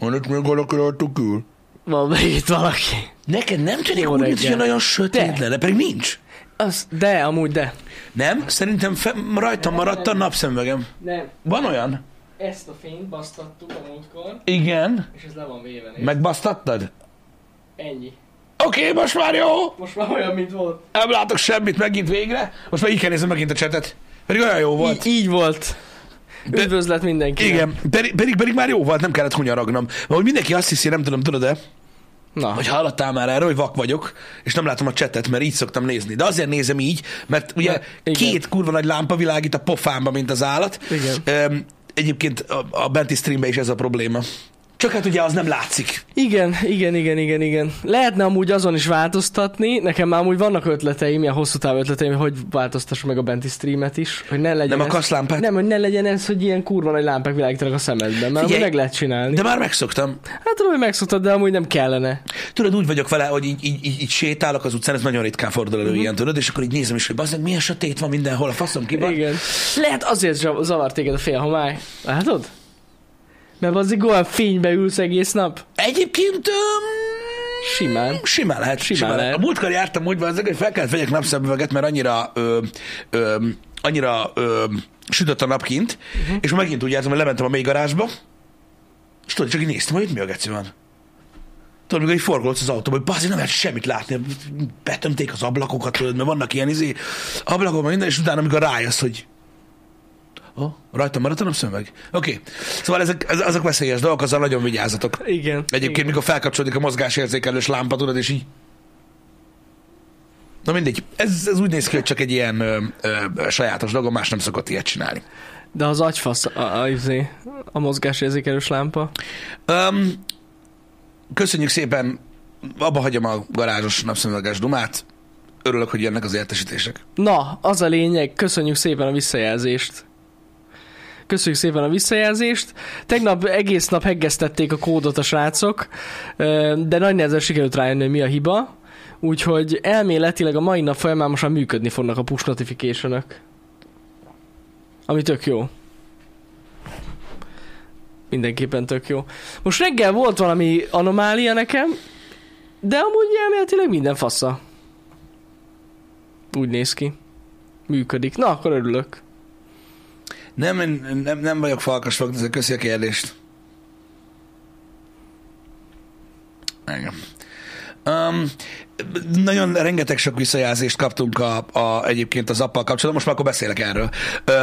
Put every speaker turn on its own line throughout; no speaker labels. Annak még alakulhattuk ül.
Van még itt valaki.
Neked nem tűnik
Jó
úgy, mint
reggel.
hogy olyan sötét
De.
lenne, pedig nincs.
Az, de, amúgy de.
Nem? Szerintem fe, rajtam maradt a napszemvegem.
Nem,
Van olyan?
ezt a fényt basztattuk a múltkor,
Igen.
és ez le van véve. nézd.
Megbasztattad?
Ennyi.
Oké, most már jó.
Most már olyan, mint volt.
Nem látok semmit megint végre. Most már így kell nézem megint a csetet. Pedig olyan jó volt.
Így, így volt.
De-
Üdvözlet mindenkinek.
Igen, pedig, pedig, pedig már jó volt, nem kellett hunyaragnom. Hogy mindenki azt hiszi, nem tudom, tudod-e,
Na,
hogy hallottál már erről, hogy vak vagyok, és nem látom a csetet, mert így szoktam nézni. De azért nézem így, mert ugye
Na, igen.
két kurva nagy lámpa világít a pofámba, mint az állat.
Igen.
Öm, egyébként a, a benti streamben is ez a probléma. Csak hát ugye az nem látszik.
igen, igen, igen, igen, igen. Lehetne amúgy azon is változtatni, nekem már amúgy vannak ötleteim, ilyen hosszú táv ötleteim, hogy változtassam meg a benti streamet is, hogy ne legyen
Nem
ez,
akarsz lámpát?
Nem, hogy ne legyen ez, hogy ilyen kurva nagy lámpák világítanak a szemedben, mert
Figyelj,
amúgy meg lehet csinálni.
De már megszoktam.
Hát tudom, hogy megszoktad, de amúgy nem kellene.
Tudod, úgy vagyok vele, hogy így, így, így, így sétálok az utcán, ez nagyon ritkán fordul
Mhm.
elő uh-huh. ilyen, tudod, és akkor így nézem is, hogy bazdmeg, milyen sötét van mindenhol, a faszom ki van.
Igen. Lehet azért zav- zavar téged a félhomály. Látod? Mert az olyan fénybe ülsz egész nap.
Egyébként öm,
Simán.
simán lehet. Simán, simán lehet.
lehet.
A múltkor jártam úgy, azért, hogy fel kellett vegyek napszemüveget, mert annyira, ö, ö, annyira ö, sütött a nap kint,
Mhm.
uh-huh. és megint úgy jártam, hogy lementem a mély garázsba, és tudod, csak így néztem, hogy itt mi a geci van. Tudod, mikor így forgolódsz az autóban, hogy bazzi, nem lehet semmit látni, betömték az ablakokat, tudod, mert vannak ilyen izé, ablakok, meg minden, és utána, amikor rájössz, hogy oh, rajtam maradt a napszemüveg. Oké, okay. szóval ezek, ez- azok veszélyes dolgok, azzal nagyon vigyázzatok.
Igen.
Egyébként,
Igen.
mikor felkapcsolódik a mozgásérzékelős lámpa, tudod, és így... Na mindegy, ez, ez úgy néz ki, hogy csak egy ilyen ö, ö, sajátos dolog, más nem szokott ilyet csinálni.
De az agyfasz a, a, izé, a mozgásérzékelős lámpa.
Um, köszönjük szépen, abba hagyom a garázsos napszemüveges dumát, örülök, hogy jönnek az értesítések.
Na, az a lényeg, köszönjük szépen a visszajelzést. Köszönjük szépen a visszajelzést. Tegnap egész nap heggeztették a kódot a srácok, ö, de nagy nehezen sikerült rájönni, hogy mi a hiba. Úgyhogy elméletileg a mai nap folyamán most már működni fognak a push notification Ami tök jó. Mindenképpen tök jó. Most reggel volt valami anomália nekem, de amúgy elméletileg minden fassa. Úgy néz ki. Működik. Na, akkor örülök.
Nem, én- nem, nem vagyok falkas fog, de köszi a kérdést. Engem. Um, nagyon rengeteg sok visszajelzést kaptunk a, a, egyébként az appal kapcsolatban, most már akkor beszélek erről.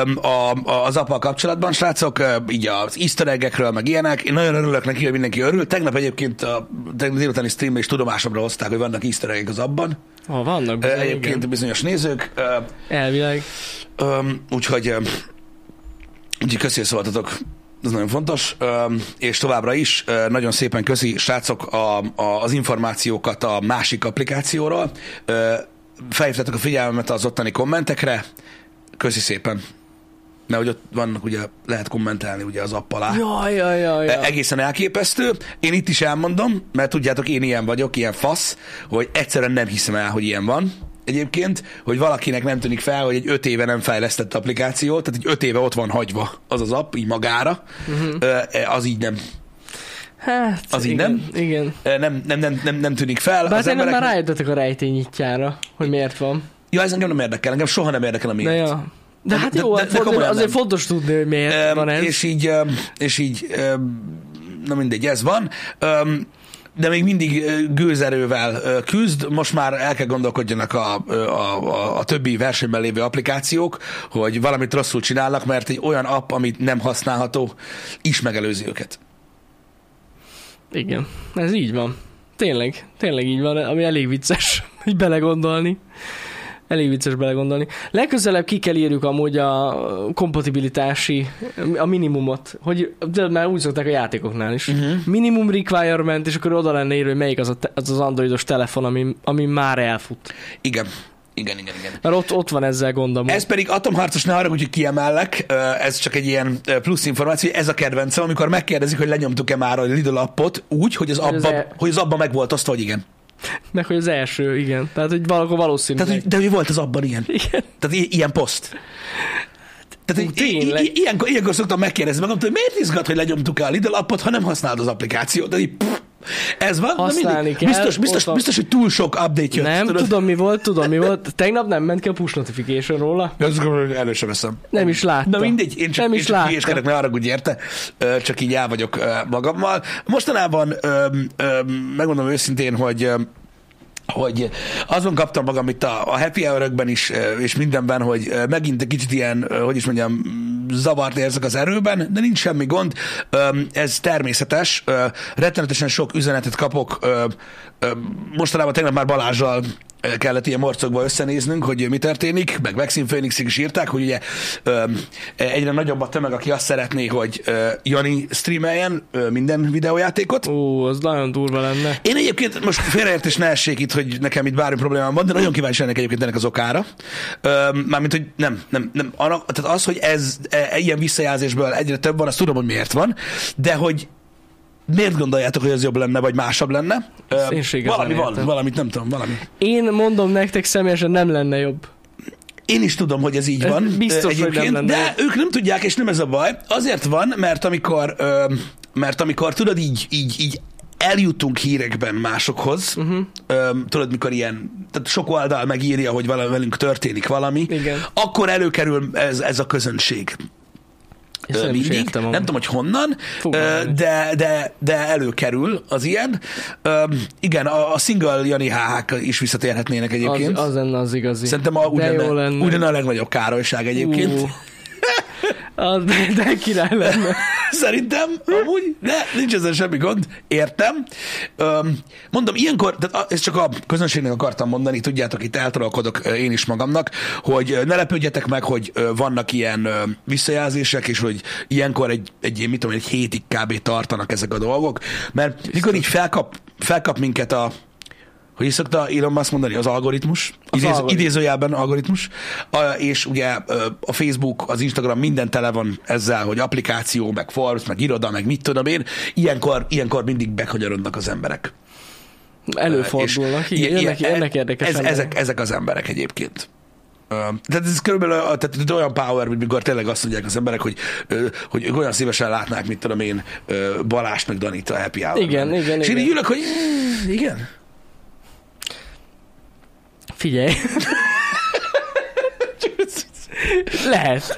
Um, a, a, az appal kapcsolatban, srácok, ö, így az easter egg-ekről, meg ilyenek, én nagyon örülök neki, hogy mindenki örül. Tegnap egyébként a tegnap délutáni streamben is tudomásomra hozták, hogy vannak easter egg az abban.
Ha vannak
Ö,
bizony,
Egyébként
igen.
bizonyos nézők, ö,
Elvileg.
Öm, úgyhogy, öm, úgyhogy köszi, hogy szóltatok. Ez nagyon fontos, öm, és továbbra is ö, nagyon szépen köszi, srácok, a, a, az információkat a másik applikációról. Ö, Felhívtátok a figyelmemet az ottani kommentekre. Köszi szépen. Mert hogy ott vannak, ugye lehet kommentelni ugye az app alá.
Jaj, jaj, jaj,
E-
jaj.
Egészen elképesztő. Én itt is elmondom, mert tudjátok, én ilyen vagyok, ilyen fasz, hogy egyszerűen nem hiszem el, hogy ilyen van egyébként, hogy valakinek nem tűnik fel, hogy egy öt éve nem fejlesztett applikációt, tehát egy öt éve ott van hagyva az az app, így magára,
Mhm.
uh-huh. az így nem,
Hát,
e, az így
igen,
nem?
Igen.
ö, nem, nem, nem, nem, nem tűnik fel.
Bár
az
tényleg
emberek...
már rájöttetek a rejtényitjára, hogy miért van.
Ja, ez engem nem érdekel, engem soha nem érdekel a miért.
De ja. De
De-
hát
de-
jó,
de- de
de, de,
komolyan
azért
nem.
fontos tudni, hogy miért
Öm,
van ez.
És így, öm, és így öm, na mindegy, ez van. Öm, de még mindig ö, gőzerővel ö, küzd, most már el kell gondolkodjanak a, ö, a, a, a többi versenyben lévő applikációk, hogy valamit rosszul csinálnak, mert egy olyan app, amit nem használható, is megelőzi őket.
Igen, ez így van. Tényleg, tényleg így van, ami elég vicces, így belegondolni. Elég vicces belegondolni. Legközelebb ki kell írjuk amúgy a kompatibilitási, a minimumot. Hogy, de már úgy szokták a játékoknál is. Uh-huh. Minimum requirement, és akkor oda lenne írva, hogy melyik az a te, az, az androidos telefon, ami, ami már elfut.
Igen, igen, igen, igen.
Mert ott, ott van ezzel gondom.
Ez pedig atomharcos, ne haragudj, hogy kiemellek, ö, ez csak egy ilyen ö, plusz információ, ez a kedvencem, amikor megkérdezik, hogy lenyomtuk-e már a Lidl appot úgy, hogy az
Hogy az
abba,
el-
hogy az abba meg volt azt, hogy igen.
Meg hogy az első, igen. Tehát, hogy valahol valószínűleg.
Tehát, hogy, de hogy volt az abban ilyen.
Igen.
Tehát i- ilyen poszt. Tehát Tehát,
Ú,
hogy i-
tényleg.
i- ilyenkor, ilyenkor szoktam megkérdezni magam, hogy miért izgat, hogy lenyomtuk el a Lidl appot, ha nem használod az applikációt. De így, pff, ez van, na mindig.
Használni kell,
biztos, biztos,
ott a-
biztos, hogy túl sok update jött.
Nem,
tudod?
tudom mi volt, tudom mi volt. Tegnap nem ment ki a push notification róla.
De azt gondolom, hogy elő sem veszem.
Nem is látta.
Na mindegy, én csak,
nem
én
is
csak
látta.
hülyéskedek, ne haragudj érte, Ö, csak így el vagyok ö, magammal. Mostanában öm, öm, megmondom őszintén, hogy öm, hogy azon kaptam magam itt a, a happy hour is, ö, és mindenben, hogy ö, megint egy kicsit ilyen, ö, hogy is mondjam, mm, zavart érzek az erőben, de nincs semmi gond, Öm, ez természetes. Ö, Rettenetesen sok üzenetet kapok. Ö, ö, Mostanában tegnap már Balázsjal ö, kellett ilyen morcokba összenéznünk, hogy mi történik, meg Maxim Phoenixig is írták, hogy ugye ö, egyre nagyobb a tömeg, aki azt szeretné, hogy ö, Jani streameljen ö, minden videójátékot.
Ó, az nagyon durva lenne.
Én egyébként most félreértés ne essék itt, hogy nekem itt bármi problémám van, de nagyon kíváncsi ennek egyébként ennek az okára. Öm, Mármint, hogy nem, nem, nem. Annak, tehát az, hogy ez e, ilyen visszajelzésből egyre több van, azt tudom, hogy miért van, de hogy miért gondoljátok, hogy ez jobb lenne, vagy másabb lenne? Öm,
én se igazán
valami van,
értem.
valamit nem tudom, valami.
Én mondom nektek személyesen nem lenne jobb.
Én is tudom, hogy ez így
Ez
van.
biztos,
ö,
hogy nem
egyébként,
lenne.
de ők nem tudják, és nem ez a baj. Azért van, mert amikor, ö, mert amikor tudod, így, így, így eljutunk hírekben másokhoz,
Mhm.
uh-huh. öm, tudod, mikor ilyen, tehát sok oldal megírja, hogy vala- velünk történik valami,
Igen.
akkor előkerül ez, ez a közönség.
Ezt
Ö,
nem is
mindig.
értem
nem
amúgy.
tudom, hogy honnan,
Fogalmam
ö, de, de, de előkerül az ilyen. Öm, igen, a, a single Jani HH-k is visszatérhetnének egyébként.
Az, az lenne az igazi.
Szerintem a,
de jó
ugyan,
lenne.
ugyan a legnagyobb károlyság egyébként.
Ú. Az, de, de király lenne.
Szerintem, amúgy, de nincs ezzel semmi gond, értem. Öm, mondom, ilyenkor, de ezt csak a közönségnek akartam mondani, tudjátok, itt eltalálkodok ö, én is magamnak, hogy ö, ne lepődjetek meg, hogy ö, vannak ilyen ö, visszajelzések, és hogy ilyenkor egy, egy ilyen, mit tudom, én, egy hétig kb. tartanak ezek a dolgok, mert mikor így felkap, felkap minket a hogy is szokta Elon Musk mondani, az algoritmus, az idéz,
algoritmus.
idézőjelben algoritmus, a, és ugye ö, a Facebook, az Instagram minden tele van ezzel, hogy applikáció, meg Forbes, meg iroda, meg mit tudom én, ilyenkor, ilyenkor mindig bekagyarodnak az emberek.
Előfordulnak.
És ilyen-
Igen, jönnek,
ilyen-
jönnek érdekes
ez,
emberek.
ezek, ezek az emberek egyébként. Ö, Tehát ez körülbelül a- tehát ez olyan power, mint mikor tényleg azt mondják az emberek, hogy, ö, hogy ők olyan szívesen látnák, mint tudom én, ö, Balást meg Danit a happy hour
Igen, igen,
És én
igen.
így ülök, hogy igen.
Figyelj. lehet.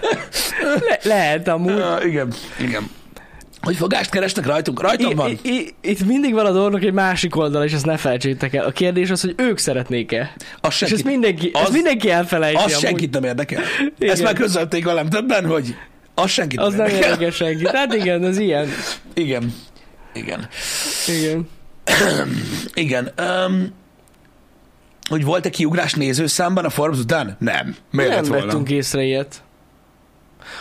Le, lehet amúgy.
Uh, igen, igen. Hogy fogást keresnek rajtunk? Rajtam van.
I, i, i, itt mindig van a dolognak egy másik oldal, és ezt ne felejtsétek el. A kérdés az, hogy ők szeretnék-e.
Az
És ezt
senkit,
mindenki, az,
az-
ezt mindenki elfelejti.
az
amúgy.
senkit nem érdekel.
Igen.
Ezt már közölték velem többen, hogy az senkit
Az nem
érdekel.
érdekel senkit. Hát igen, az ilyen.
Igen. Igen.
Igen.
Igen. Um, hogy volt-e kiugrás nézőszámban a Forbes után? Nem. Miért
nem
lett volna?
vettünk észre ilyet.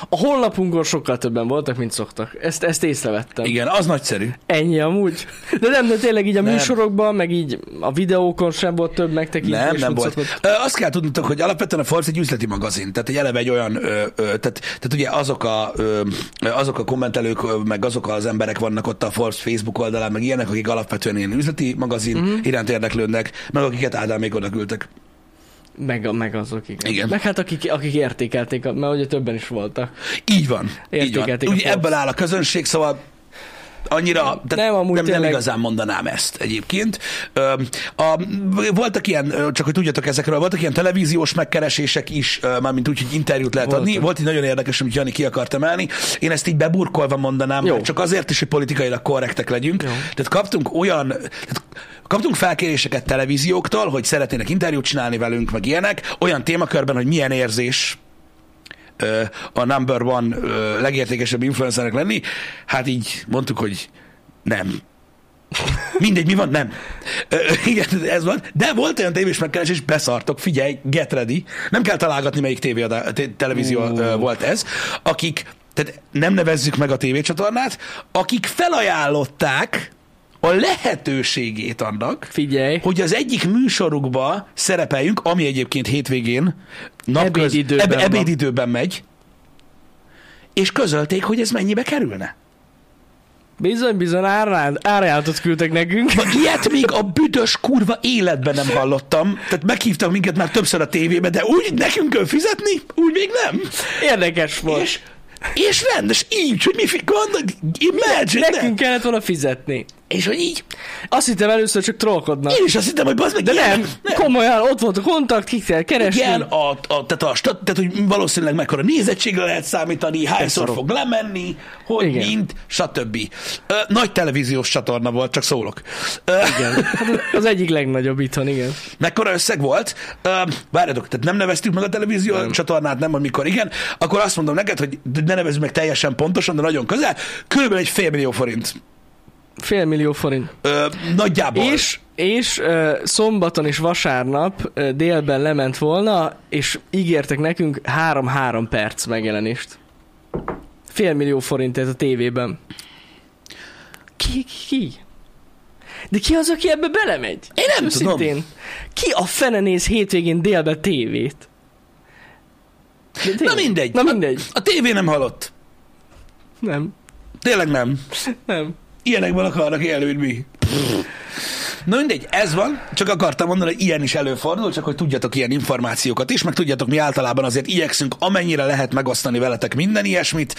A honlapunkon sokkal többen voltak, mint szoktak. Ezt, ezt észrevettem.
Igen, az nagyszerű.
Ennyi amúgy. De nem, de tényleg így a
Nem.
műsorokban, meg így a videókon sem volt több megtekintés.
Nem, nem
mint
volt.
szokott.
Ö, Azt kell tudnotok, hogy alapvetően a Forbes egy üzleti magazin, tehát egy eleve egy olyan, ö, ö, tehát, tehát ugye azok a, ö, azok a kommentelők, ö, meg azok az emberek vannak ott a Forbes Facebook oldalán, meg ilyenek, akik alapvetően ilyen üzleti magazin
Mhm.
mm-hmm. iránt érdeklődnek, meg akiket Ádámék oda küldtek.
Meg, a- meg azok, igen.
Igen.
Meg hát akik, akik értékelték, a- mert ugye többen is voltak.
Így van. Így van.
Értékelték a
Ugye
Forbes.
ebből áll a közönség, szóval annyira tehát
Nem, amúgy
nem, nem
tényleg-
igazán mondanám ezt egyébként. Ö, a, voltak ilyen, ö, csak hogy tudjatok ezekről, voltak ilyen televíziós megkeresések is, ö, mármint úgy, hogy interjút lehet
Voltak.
adni. Volt egy nagyon érdekes, amit Jani ki akart emelni. Én ezt így beburkolva mondanám,
Jó.
mert csak azért is, hogy politikailag korrektek legyünk.
Jó.
Tehát kaptunk olyan, tehát kaptunk felkéréseket televízióktól, hogy szeretnének interjút csinálni velünk, meg ilyenek, olyan témakörben, hogy milyen érzés ö, a number one ö, legértékesebb influencernek lenni, hát így mondtuk, hogy nem. Mindegy, mi van? Nem. Ö, igen, ez van. De volt olyan tévés megkeresés, beszartok, figyelj, get ready. Nem kell találgatni, melyik tévé, te, televízió ö, volt ez. Akik, tehát nem nevezzük meg a tévécsatornát, akik felajánlották a lehetőségét annak,
Figyelj.
hogy az egyik műsorukba szerepeljünk, ami egyébként hétvégén napköz,
Ebédidőben
eb-
van.
ebédidőben megy, és közölték, hogy ez mennyibe kerülne.
Bizony, bizony, árrá- árajánlatot küldtek nekünk.
Ilyet még a büdös kurva életben nem hallottam. Tehát meghívtak minket már többször a tévébe, de úgy nekünk kell fizetni, úgy még nem.
Érdekes volt.
És, és rendes, így, hogy mi fi- gondolj, imagine,
Nekünk
ne?
kellett volna fizetni.
És hogy így,
Azt hittem először csak trollkodnak.
én is azt hittem, hogy bazd meg, de
Nem, komolyan, ott volt a kontakt, ki kell keresni.
Igen, a, a, tehát, a, stat- tehát, hogy valószínűleg mekkora nézettségre lehet számítani, hányszor
szarok.
fog lemenni, hogy
Igen.
Igen. mint, stb. Ö, nagy televíziós csatorna volt, csak szólok. Ö, Igen.
Hát Az egyik legnagyobb itthon, igen.
mekkora összeg volt? Ö, várjatok, tehát nem neveztük meg a televízió nem. csatornát, nem, amikor igen, akkor azt mondom neked, hogy ne nevezzük meg teljesen pontosan, de nagyon közel, körülbelül egy fél millió forint.
Fél millió forint.
Ö, nagyjából.
És, és ö, szombaton és vasárnap ö, délben lement volna, és ígértek nekünk 3-3 perc megjelenést. Fél millió forintért a tévében. Ki, ki, ki? De ki az, aki ebbe belemegy?
Én nem tudom.
Ki a fene néz hétvégén délbe tévét? De
Na
tényleg.
mindegy.
Na mindegy.
A tévé nem halott.
Nem,
Tényleg nem.
nem.
Ilyenekben akarnak élni, mint mi. Na mindegy, ez van, csak akartam mondani, hogy ilyen is előfordul, csak hogy tudjatok ilyen információkat is, meg tudjatok, mi általában azért igyekszünk, amennyire lehet megosztani veletek minden ilyesmit.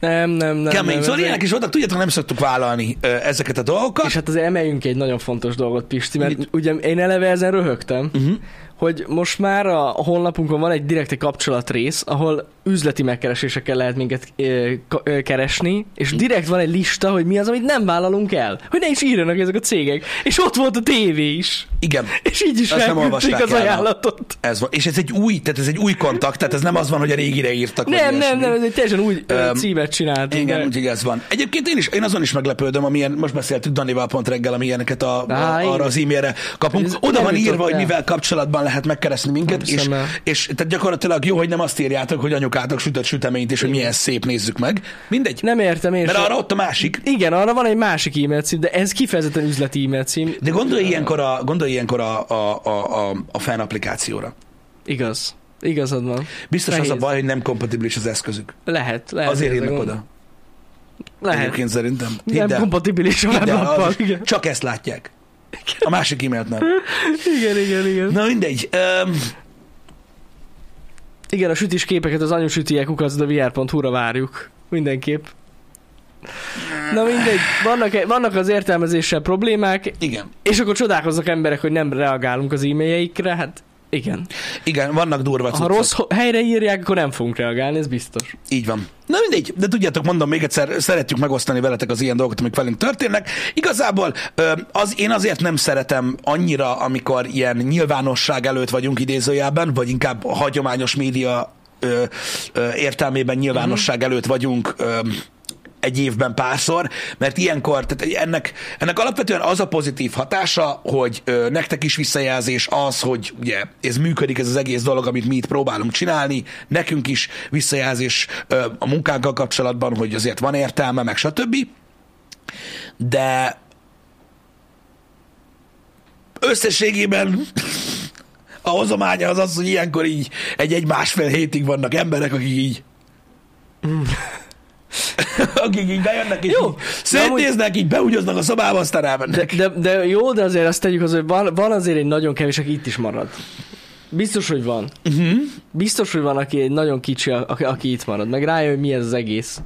Nem, nem, nem.
Kemény,
nem,
szóval
ez-
ilyenek is voltak, tudjátok, nem szoktuk vállalni ö, ezeket a dolgokat.
És hát azért emeljünk egy nagyon fontos dolgot, Pisti, mert
Mit?
ugye én eleve ezen röhögtem,
Mhm.
hogy most már a honlapunkon van egy direkte kapcsolatrész, ahol üzleti megkeresésekkel lehet minket ö, ka- ö, keresni, és direkt van egy lista, hogy mi az, amit nem vállalunk el. Hogy ne is írjanak ezek a cégek. És ott volt a tévé is.
Igen,
És így is
Azt nem
megküldték
olvasták
az
el, nem.
ajánlatot.
ez van. És ez egy új, tehát ez egy új kontakt, tehát ez nem az van, hogy a régire írtak. vagy
Nem, nem,
ilyesmi.
nem, ez egy teljesen új ö,
Öm,
címet csináltunk.
Igen,
de-
úgyhogy ez van. Egyébként én is, én azon is meglepődöm, amilyen, most beszéltük Danival pont reggel, amilyeneket a,
Á,
a,
igen.
arra az e-mailre kapunk.
Ez
Oda
nem
van
jutott
írva, hogy
el.
mivel kapcsolatban lehet megkeresni minket,
Nem
és,
hiszem el.
és tehát gyakorlatilag jó, hogy nem azt írjátok, hogy anyukátok sütött süteményt, és hogy milyen szép nézzük meg. Mindegy.
Nem értem én
Mert
sem.
arra ott a másik.
Igen, arra van egy másik e-mail cím, de ez kifejezetten üzleti e-mail cím.
De gondolj ilyenkor a, gondolj ilyenkor a, a, a, a, a fan applikációra.
Igaz. Igazad van.
Biztos
Nehéz.
az a baj, hogy nem kompatibilis az eszközük.
Lehet, lehet.
Azért
ez a
írnak
gond.
oda.
Lehet.
Egyébként szerintem. Hidd
Nem
el.
kompatibilis a
Hidd el,
weblappal.
az-
Igen.
Csak ezt látják. A másik e-mailt nem.
igen, igen, igen.
Na mindegy. Um,
Igen, a sütis képeket az anyusütiek ukacdavr.hu-ra várjuk. Mindenképp. Na mindegy, vannak, vannak az értelmezéssel problémák,
igen.
és akkor csodálkoznak emberek, hogy nem reagálunk az e-mailjeikre, hát igen.
Igen, vannak durva
Ha
cuccok.
rossz ho- helyre írják, akkor nem fogunk reagálni, ez biztos.
Így van. Na mindegy, de tudjátok, mondom még egyszer, szeretjük megosztani veletek az ilyen dolgokat, amik velünk történnek. Igazából ö, az, én azért nem szeretem annyira, amikor ilyen nyilvánosság előtt vagyunk idézőjelben, vagy inkább a hagyományos média ö, ö, értelmében nyilvánosság előtt vagyunk ö, egy évben párszor, mert ilyenkor, tehát ennek, ennek alapvetően az a pozitív hatása, hogy ö, nektek is visszajelzés az, hogy ugye ez működik, ez az egész dolog, amit mi itt próbálunk csinálni, nekünk is visszajelzés ö, a munkánkkal kapcsolatban, hogy azért van értelme, meg stb. De összességében a hozománya az az, hogy ilyenkor így egy-egy másfél hétig vannak emberek, akik így akik így bejönnek, és
Jó,
Jó, így
de amúgy-
szétnéznek, így beugyoznak a szobába, aztán
De,
rámennek.
de, de jó, de azért azt tegyük hozzá, hogy van, van azért egy nagyon kevés, aki itt is marad. Biztos, hogy van.
Uh-huh.
Biztos, hogy van, aki egy nagyon kicsi, a- aki, aki itt marad, meg rájön, hogy mi ez az egész.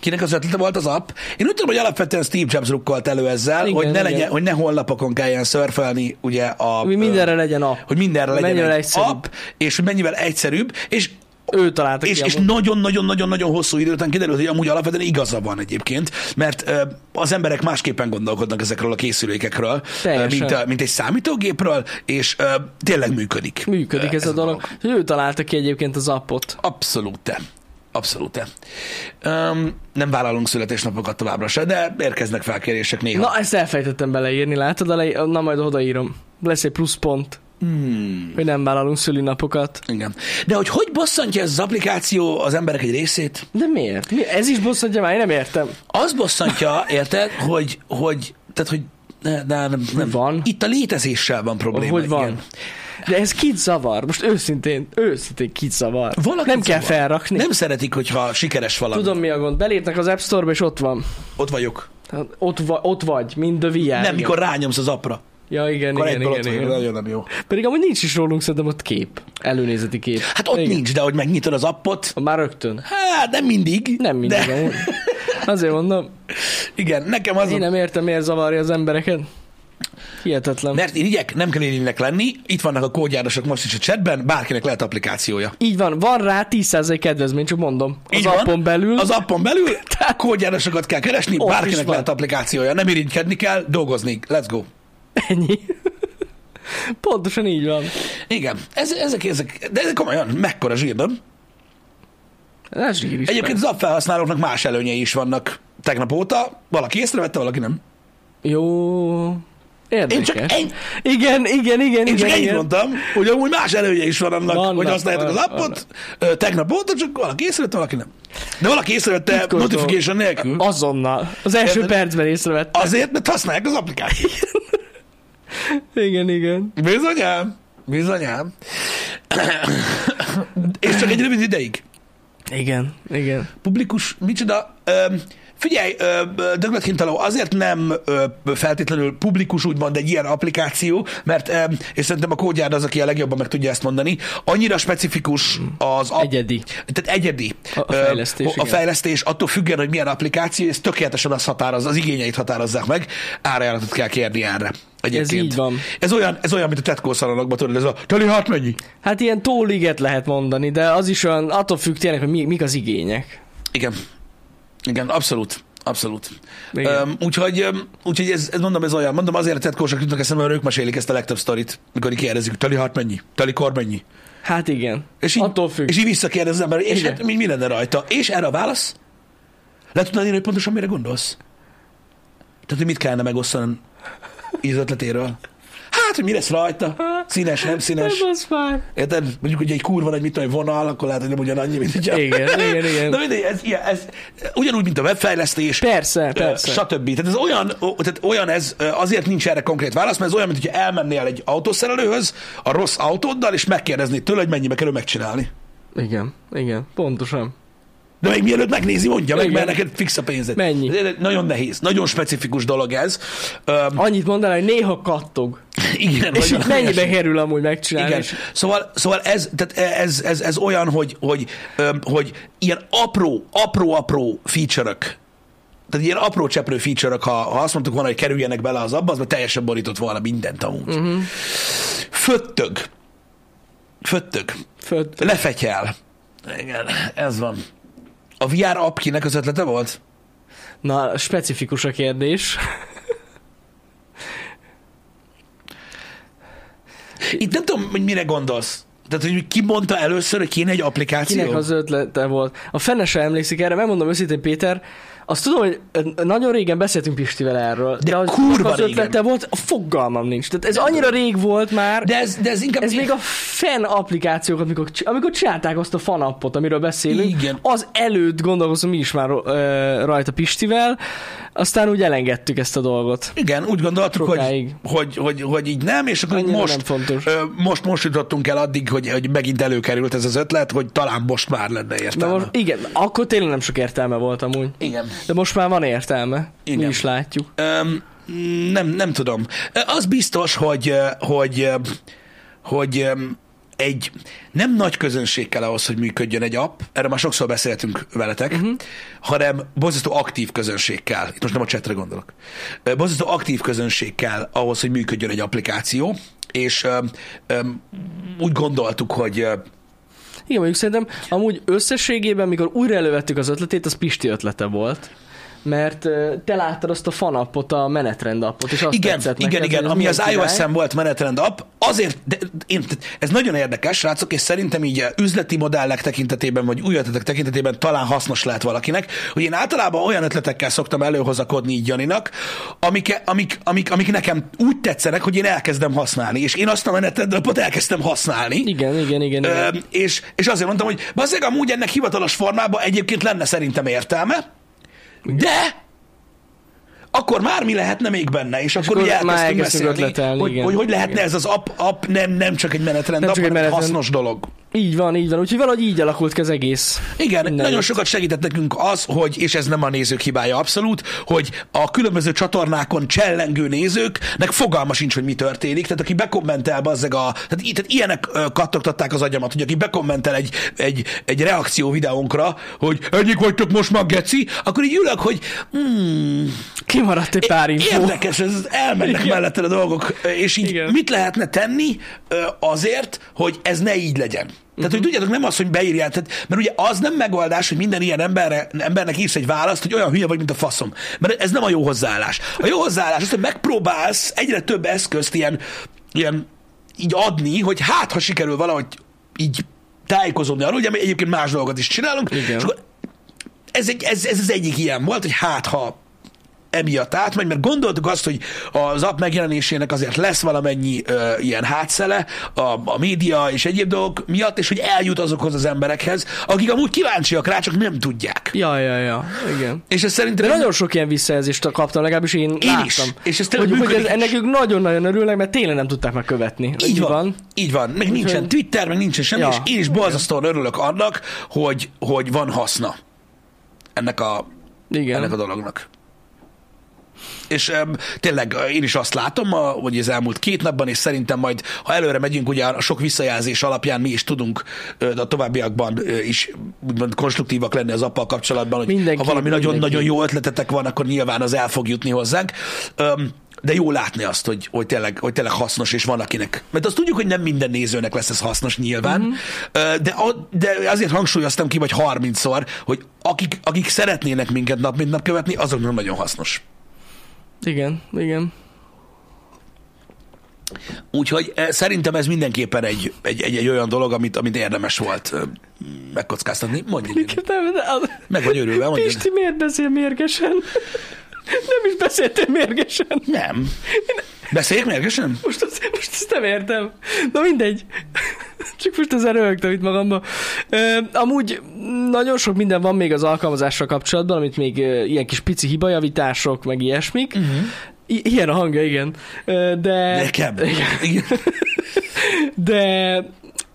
Kinek az ötlete volt az app? Én úgy tudom, hogy alapvetően Steve Jobs rukkolt elő ezzel,
Igen,
hogy, ne
igen.
legyen, hogy ne honlapokon kelljen szörfelni, ugye a...
Ami mindenre legyen a...
hogy mindenre legyen
Mennyivel
egy
egyszerűbb.
app, és hogy mennyivel egyszerűbb, és
Ő találta
Hát, és,
ki
és
amúgy.
nagyon-nagyon-nagyon-nagyon hosszú idő után kiderült, hogy amúgy alapvetően igaza van egyébként, mert ö, az emberek másképpen gondolkodnak ezekről a készülékekről, ö,
Teljesen.
mint, a, mint egy számítógépről, és ö, tényleg működik.
Működik ez, a dolog. Hogy Ő találta ki egyébként az appot.
Abszolút. Abszolút. Um, nem vállalunk születésnapokat továbbra se, de érkeznek felkérések néha.
Na, ezt elfejtettem beleírni, látod? A le... Na, majd odaírom. Lesz egy pluszpont,
Hmm.
hogy nem vállalunk szülinapokat.
Igen. De hogy hogy bosszantja ez az applikáció az emberek egy részét?
De miért? Mi? Ez is bosszantja már, én nem értem.
Az bosszantja, érted, hogy, hogy, tehát, hogy ne, ne, nem, nem.
Van.
Itt a létezéssel van probléma.
Hogy van.
Igen.
De ez kit zavar? Most őszintén, őszintén kit zavar?
Valakit
nem kell
zavar.
felrakni.
Nem szeretik, hogyha sikeres valami.
Tudom mi a gond. Belépnek az App Store-ba, és ott van.
Ott vagyok.
Tehát ott, va- ott vagy, mind a VR.
nem, mikor rányomsz az apra.
Ja, igen,
Akkor
igen,
egyből
igen,
ott
igen,
vagyok. Nagyon nem jó.
Pedig amúgy nincs is rólunk szerintem ott kép. Előnézeti kép.
Hát ott
igen.
nincs, de hogy megnyitod az appot,
Már rögtön.
hát nem mindig.
Nem mindig.
De,
De... Azért mondom,
igen, nekem az
én
a
nem értem, miért zavarja az embereket. Hihetetlen.
Mert irigyek, nem kell irigynek lenni, itt vannak a kódjárosok most is a chatben, bárkinek lehet applikációja.
Így van, van rá 10% kedvezmény, csak mondom. Az
Így van.
appon belül.
Az appon belül kódjárosokat kell keresni,
Hm. Ott is
bárkinek
van.
lehet applikációja, nem irigykedni kell, dolgozni, let's go.
Ennyi. Pontosan így van.
Igen, ez, ezek, ezek, de ezek komolyan, mekkora zsír, nem?
Ez zsír is.
Egyébként az app felhasználóknak más előnyei is vannak tegnap óta, valaki észrevette, valaki nem.
Jó. Érdekes.
Én csak egy-
Igen, igen, igen.
Én
igen,
csak ennyit
igen.
mondtam, hogy amúgy más előnye is van annak,
Vannak,
hogy használjátok az
vannak,
appot, ö, tegnap óta, csak valaki észrevette, valaki nem. De valaki észrevette
Titkoltó.
notification nélkül.
Azonnal. Az első
Érted?
percben észrevett.
Azért, mert használják az applikációt.
Igen, igen.
Bizonyám, bizonyám. És csak egy rövid ideig.
Igen, igen.
Publikus, micsoda... Öm, figyelj, Dögletkintaló, azért nem ö, feltétlenül publikus úgymond egy ilyen applikáció, mert, öm, és szerintem a kódjárd az, aki a legjobban meg tudja ezt mondani, annyira specifikus az app,
Egyedi.
tehát egyedi
A- a
ö,
fejlesztés,
a
igen.
fejlesztés, attól függően, hogy milyen applikáció, ez tökéletesen az határoz, az igényeit határozzák meg, árajánlatot kell kérni erre. Egyébként.
így van.
Ez olyan, ez olyan, mint a Tetco szalonokban, tudod, ez a teli hát mennyi?
Hát ilyen tóliget lehet mondani, de az is olyan, attól függ tényleg, hogy mi, mik az igények.
Igen. Igen, abszolút. Abszolút.
Igen.
Öm, úgyhogy, öm, úgyhogy ez, ez, mondom, ez olyan. Mondom, azért a tetkósak jutnak eszembe, mert ők mesélik ezt a legtöbb sztorit, mikor így kérdezik, teli hat mennyi, teli kor mennyi.
Hát igen.
És így,
attól függ.
És így visszakérdez az ember, és
Igen.
hát mi, mi lenne rajta? És erre a válasz? Le tudnád írni, hogy pontosan mire gondolsz? Tehát, hogy mit kellene megosztanom íz ötletéről? Hát, hogy mi lesz rajta? Színes, nem színes?
Nem, az már.
Érted? Mondjuk, hogy egy kurva nagy, mit tudom, egy vonal, akkor lehet, hogy nem ugyanannyi, mint egy
Igen, igen, igen.
Na mindegy, ez, ilyen, ez ugyanúgy, mint a webfejlesztés.
Persze,
ö,
persze.
Stb. Tehát ez olyan, ó, tehát olyan ez, ö, azért nincs erre konkrét válasz, mert ez olyan, mint hogyha elmennél egy autószerelőhöz a rossz autóddal, és megkérdezni tőle, hogy mennyibe kerül megcsinálni.
Igen, igen, pontosan.
De még mielőtt megnézi, mondja meg,
Igen.
mert neked fix a pénzed.
Mennyi?
Ez Nagyon nehéz, nagyon specifikus dolog ez. Öm,
Annyit mondaná, hogy néha kattog.
igen,
És
nagyon-
így mennyibe kerül amúgy megcsinálni.
Igen.
És-
Szóval, szóval ez, tehát ez, ez, ez, olyan, hogy, hogy, öm, hogy ilyen apró, apró-apró feature-ök, tehát ilyen apró cseprő feature-ök, ha, ha azt mondtuk volna, hogy kerüljenek bele az abba, az már teljesen borított volna mindent amúgy.
Mhm.
Uh-huh. Föttög. Föttög.
Föld.
Lefetyel. Igen, ez van. A VR app kinek az ötlete volt?
Na, specifikus a kérdés.
Itt nem tudom, hogy mire gondolsz. Tehát, hogy ki mondta először, hogy kéne egy applikáció?
Kinek az ötlete volt? A fene se emlékszik erre, megmondom őszintén, Péter, azt tudom, hogy nagyon régen beszéltünk Pistivel erről, de,
De
az,
kurva
az ötlete
régen.
volt, a fogalmam nincs. Tehát ez annyira rég volt már,
De ez, de ez inkább...
ez még a fan applikációk, amikor, csi- amikor csinálták azt a fan appot, amiről beszélünk,
Igen.
az előtt gondolkozom mi is már ö, rajta Pistivel, aztán úgy elengedtük ezt a dolgot.
Igen, úgy gondoltuk, hogy,
Sokáig.
hogy, hogy, hogy így nem, és akkor így
Annyira
most,
nem fontos.
Ö, most, most jutottunk el addig, hogy, hogy megint előkerült ez az ötlet, hogy talán most már lenne
De
értelme.
most, igen, akkor tényleg nem sok értelme volt amúgy.
Igen.
De most már van értelme. Igen. Mi
Igen.
is látjuk.
Öm, nem, nem tudom. Ö, Az biztos, hogy, ö, hogy, ö, hogy öm, egy nem nagy közönség kell ahhoz, hogy működjön egy app, erről már sokszor beszéltünk veletek, uh-huh. hanem borzasztó aktív közönség kell, itt most nem a csetre gondolok, Ö, borzasztó aktív közönség kell ahhoz, hogy működjön egy applikáció, és öm, öm, úgy gondoltuk, hogy ö,
Igen, mondjuk szerintem amúgy összességében, mikor újra elővettük az ötletét, az Pisti ötlete volt. Mert ö, te láttad azt a fanappot, a menetrend appot, és azt
igen,
tetszett
igen,
neked,
igen,
hogy ez
ami az
milyen király.
iOS-en volt menetrend app, azért, de, én, ez nagyon érdekes, srácok, és szerintem így eh, üzleti modellek tekintetében, vagy új ötletek tekintetében talán hasznos lehet valakinek, hogy én általában olyan ötletekkel szoktam előhozakodni így Janinak, amik, amik, amik, amik nekem úgy tetszenek, hogy én elkezdem használni, és én azt a menetrend appot elkezdtem használni,
Igen, igen, igen. igen.
Ö, és, és azért mondtam, hogy bazzeg, amúgy ennek hivatalos formában egyébként lenne szerintem értelme, de akkor már mi lehetne még benne, és, akkor,
akkor
mi
már
elkezdtünk
elkezdtünk
beszélni,
ötletelni,
hogy,
igen.
hogy, hogy lehetne ez az app, app nem, nem csak egy menetrend,
Nem
app,
csak egy
hanem egy
menetrend.
hasznos dolog.
Így van, így van. Úgyhogy valahogy így alakult ki az egész.
Igen,
Nem.
nagyon sokat segített nekünk az, hogy, és ez nem a nézők hibája abszolút, hogy a különböző csatornákon csellengő nézőknek fogalma sincs, hogy mi történik. Tehát aki bekommentel, bazzeg a... Tehát, i- tehát ilyenek ö, kattogtatták az agyamat, hogy aki bekommentel egy, egy, egy reakció videónkra, hogy egyik vagytok most már geci, akkor így ülök, hogy hmm,
Kimaradt egy pár infó.
Érdekes, ez elmennek mellette a dolgok, és így
Igen.
Igen. mit lehetne tenni ö, azért, hogy ez ne így legyen? Tehát,
Mhm.
uh-huh. hogy tudjátok, nem az, hogy beírjál, tehát, mert ugye az nem megoldás, hogy minden ilyen emberre, embernek írsz egy választ, hogy olyan hülye vagy, mint a faszom. Mert ez nem a jó hozzáállás. A jó hozzáállás az, hogy megpróbálsz egyre több eszközt ilyen, ilyen így adni, hogy hát, ha sikerül valahogy így tájékozódni arról, ugye mi egyébként más dolgokat is csinálunk,
Igen.
és akkor ez, egy, ez, ez az egyik ilyen volt, hogy hát ha emiatt átmegy, mert gondoltuk azt, hogy az app megjelenésének azért lesz valamennyi ö, ilyen hátszele a, a média és egyéb dolgok miatt, és hogy eljut azokhoz az emberekhez, akik amúgy kíváncsiak rá, csak nem tudják.
Ja, ja, ja. Igen.
És ez szerintem...
De nagyon sok ilyen visszajelzést kaptam, legalábbis én, én láttam.
is. És ez tényleg
hogy, hogy
működik
ez- ennek
is.
ők nagyon-nagyon örülnek, mert tényleg nem tudták megkövetni.
Így van, Így van. Meg nincsen
Úgyhogy-
Twitter, meg nincsen semmi,
Ja.
ja. és én is borzasztóan örülök annak, hogy, hogy van haszna ennek a,
Igen.
ennek a dolognak. És um, tényleg ö, én is azt látom, a, hogy az elmúlt két napban, és szerintem majd, ha előre megyünk, ugye a sok visszajelzés alapján mi is tudunk ö, de a továbbiakban ö, is úgymond konstruktívak lenni az appal kapcsolatban, hogy
Mindenki-
ha valami nagyon-nagyon
mindenki.
jó ötletetek van, akkor nyilván az el fog jutni hozzánk. Um, de jó látni azt, hogy, hogy, tényleg, hogy tényleg hasznos, és van akinek. Mert azt tudjuk, hogy nem minden nézőnek lesz ez hasznos nyilván,
Mhm.
mm-hmm. de, a, de azért hangsúlyoztam ki, vagy 30-szor, hogy akik, akik szeretnének minket nap mint nap követni, azoknak nagyon hasznos.
Igen, igen.
Úgyhogy eh, szerintem ez mindenképpen egy, egy, egy, egy olyan dolog, amit, amit érdemes volt eh, megkockáztatni. Mondj, Lili.
Nem, de az...
meg vagy örülve, mondj.
Pisti miért beszél mérgesen? Nem is beszéltél mérgesen.
Nem. Beszéljek mérgesen?
Most, azt, most ezt nem értem. Na mindegy. Csak most ezzel röhögtem itt magamba. Ö, amúgy nagyon sok minden van még az alkalmazással kapcsolatban, amit még ö, ilyen kis pici hibajavítások, meg ilyesmik. Uh-huh. I- ilyen a hangja, igen. Ö, de...
Nekem.
Igen.
Igen.
De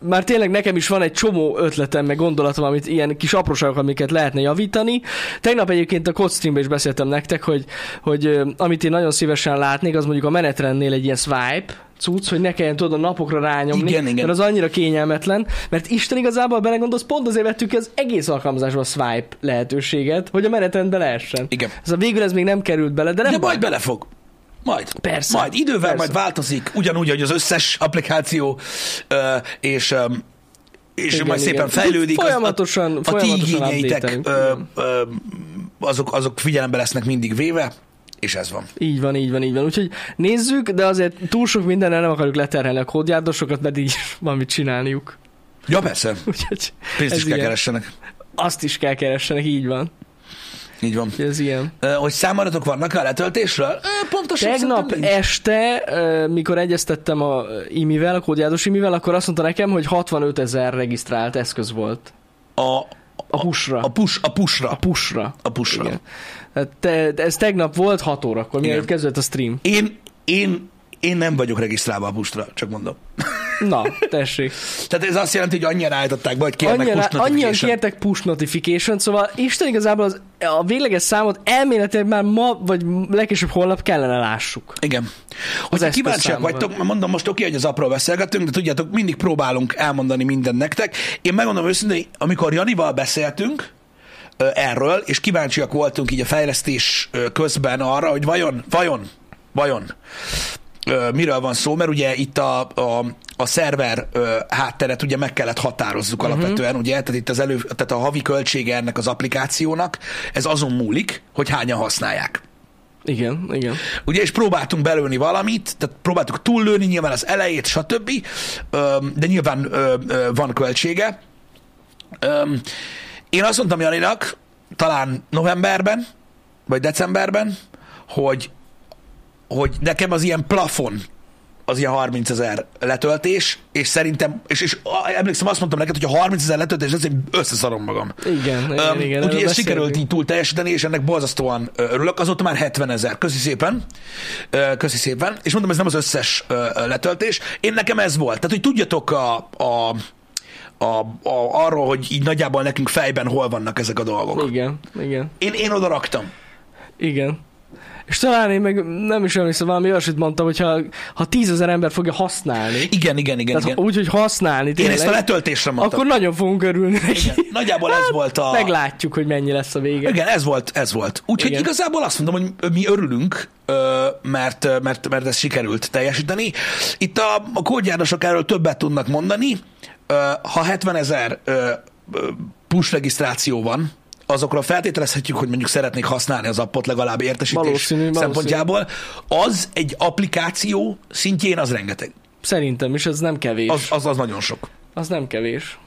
már tényleg nekem is van egy csomó ötletem, meg gondolatom, amit ilyen kis apróságok, amiket lehetne javítani. Tegnap egyébként a Codstreamben is beszéltem nektek, hogy, hogy ö, amit én nagyon szívesen látnék, az mondjuk a menetrendnél egy ilyen swipe cucc, hogy ne kelljen tudod a napokra rányomni,
Igen, igen.
mert az annyira kényelmetlen, mert Isten igazából belegondolsz, pont azért vettük ki az egész alkalmazásba a swipe lehetőséget, hogy a menetrendbe lehessen.
Igen.
Ez a végül ez még nem került bele, de nem
De
baj.
majd belefog. Majd.
Persze.
Majd idővel
Persze.
majd változik, ugyanúgy, hogy az összes applikáció, ö, és, ö, és
Igen,
majd
igen.
szépen fejlődik. az-
Folyamatosan,
a ti
folyamatosan
igényeitek ö,
updatelünk.
ö, azok, azok figyelembe lesznek mindig véve, és ez van.
Így van, így van, így van. Úgyhogy nézzük, de azért túl sok mindenre nem akarjuk leterhelni a kódjárdosokat, mert így valamit csinálniuk.
Ja, persze.
Úgyhogy
Pénzt
Ez
is kell
igen.
keressenek.
azt is kell keressenek, így van.
Így van.
Úgyhogy Ez ilyen.
Ö, Hogy számadatok vannak a letöltésről? Ö, Pontosan
Tegnap
szerintem nincs.
este, ö, mikor egyeztettem a Imivel, a kódjárdos Imivel, akkor azt mondta nekem, hogy 65 ezer regisztrált eszköz volt.
a,
A pushra.
a, push, a pushra.
A pushra.
A pushra.
Igen. Tehát Te, ez tegnap volt 6 órakor, mielőtt
Igen.
kezdődött a stream.
Én, én, én nem vagyok regisztrálva a pushra, csak mondom.
Na, tessék.
Tehát ez azt jelenti, hogy annyian állították be, hogy kérnek
Annyian,
push
annyian
notification.
kértek push notification, szóval Isten igazából az, a végleges számot elméletileg már ma, vagy legkésőbb holnap kellene lássuk.
Igen. Hogy
eszköz
kíváncsiak
számával.
vagytok, mert mondom most oké, hogy az apról beszélgetünk, de tudjátok, mindig próbálunk elmondani mindent nektek. Én megmondom őszintén, amikor Janival beszéltünk, ö, erről, és kíváncsiak voltunk így a fejlesztés ö, közben arra, hogy vajon, vajon, vajon ö, miről van szó, mert ugye itt a, a, a szerver ö, hátteret ugye meg kellett határozzuk alapvetően, ugye, tehát itt az elő, tehát a havi költsége ennek az applikációnak, ez azon múlik, hogy hányan használják.
Igen, igen.
Ugye, és próbáltunk belőni valamit, tehát próbáltuk túllőni nyilván az elejét, stb., Öm, de nyilván ö, ö, van költsége. Öm, Én azt mondtam Janinak, talán novemberben, vagy decemberben, hogy, hogy nekem az ilyen plafon az ilyen 30 ezer letöltés, és szerintem, és, és a- emlékszem, azt mondtam neked, hogy a 30 ezer letöltés, ez én összeszarom magam.
Igen, igen,
Öm,
igen.
Úgyhogy
erről
ezt sikerült
beszéltünk.
így túl teljesíteni, és ennek borzasztóan ö, örülök. Azóta már 70 ezer. Köszi szépen. Ö, Köszi szépen. És mondom, ez nem az összes ö, ö, letöltés. Én nekem ez volt. Tehát, hogy tudjatok a, a, a, a, arról, hogy így nagyjából nekünk fejben hol vannak ezek a dolgok.
Igen, igen,
Én, én oda raktam.
igen. És talán én meg nem is emlékszem, valami olyasmit mondtam, hogy ha, ha tízezer ember fogja használni,
Igen, igen, igen.
tehát
igen.
ha- úgy, hogy használni
Én ezt a
tényleg,
letöltésre mondtam.
akkor nagyon fogunk örülni neki. Hát,
Igen. Nagyjából ez volt a...
Meglátjuk, hogy mennyi lesz a vége.
Igen, ez volt, ez volt. Úgyhogy
Igen.
igazából azt mondom, hogy mi örülünk, ö, mert, mert, mert ez sikerült teljesíteni. Itt a, a kódjárosok erről többet tudnak mondani. Ö, Ha 70 ezer push regisztráció van, azokra feltételezhetjük, hogy mondjuk szeretnék használni az appot legalább értesítés
Valószínű, valószínű.
szempontjából. Az egy applikáció szintjén az rengeteg.
Szerintem is, ez nem kevés.
Az,
Az,
az, az nagyon sok.
az nem kevés.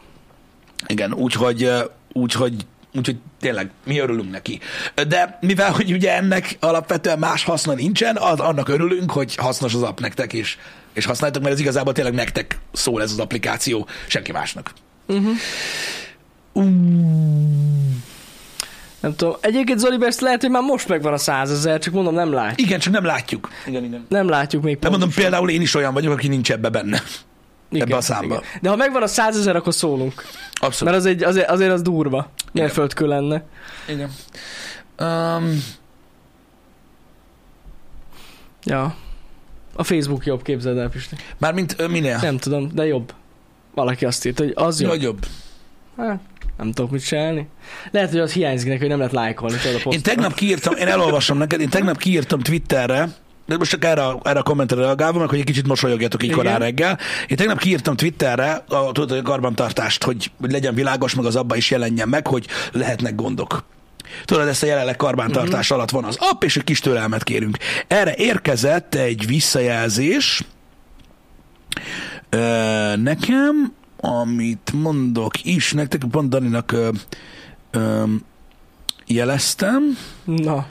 Igen, úgyhogy, ö, úgyhogy, úgyhogy tényleg mi örülünk neki. De mivel, hogy ugye ennek alapvetően más haszna nincsen, az, annak örülünk, hogy hasznos az app nektek is, és használjátok, mert ez igazából tényleg nektek szól ez az applikáció, senki másnak.
Nem tudom. Egyébként Zoli ezt lehet, hogy már most megvan a százezer, csak mondom, nem látjuk.
Igen, csak nem látjuk. Igen, igen.
Nem látjuk még
De
pontosan.
mondom, például én is olyan vagyok, aki nincs ebbe benne.
Igen,
ebbe a számba.
igen. De ha megvan a százezer, akkor szólunk.
Abszolút.
Mert az egy, azért, azért az durva. Mérföldkő lenne.
Igen. Um,
Ja. A Facebook jobb, képzeld el, Pisti.
mármint ö, minél?
Nem tudom, de jobb. Valaki azt írt, hogy az jobb.
Nagyobb.
Hát, nem tudok mit csinálni. Lehet, hogy az hiányzik neki, hogy nem lehet lájkolni tudod a
Én
posztot.
tegnap kiírtam, én elolvasom neked, én tegnap kiírtam Twitterre, de most csak erre, a- erre a kommentre reagálva, meg hogy egy kicsit mosolyogjatok így
Igen.
korán reggel. Én tegnap kiírtam Twitterre a, tudod, a karbantartást, hogy, hogy legyen világos, meg az abba is jelenjen meg, hogy lehetnek gondok. Tudod, ezt a jelenleg karbantartás alatt van az app, és egy kis türelmet kérünk. Erre érkezett egy visszajelzés ö, nekem, amit mondok is nektek, pont Daninak ö, ö, jeleztem
Na,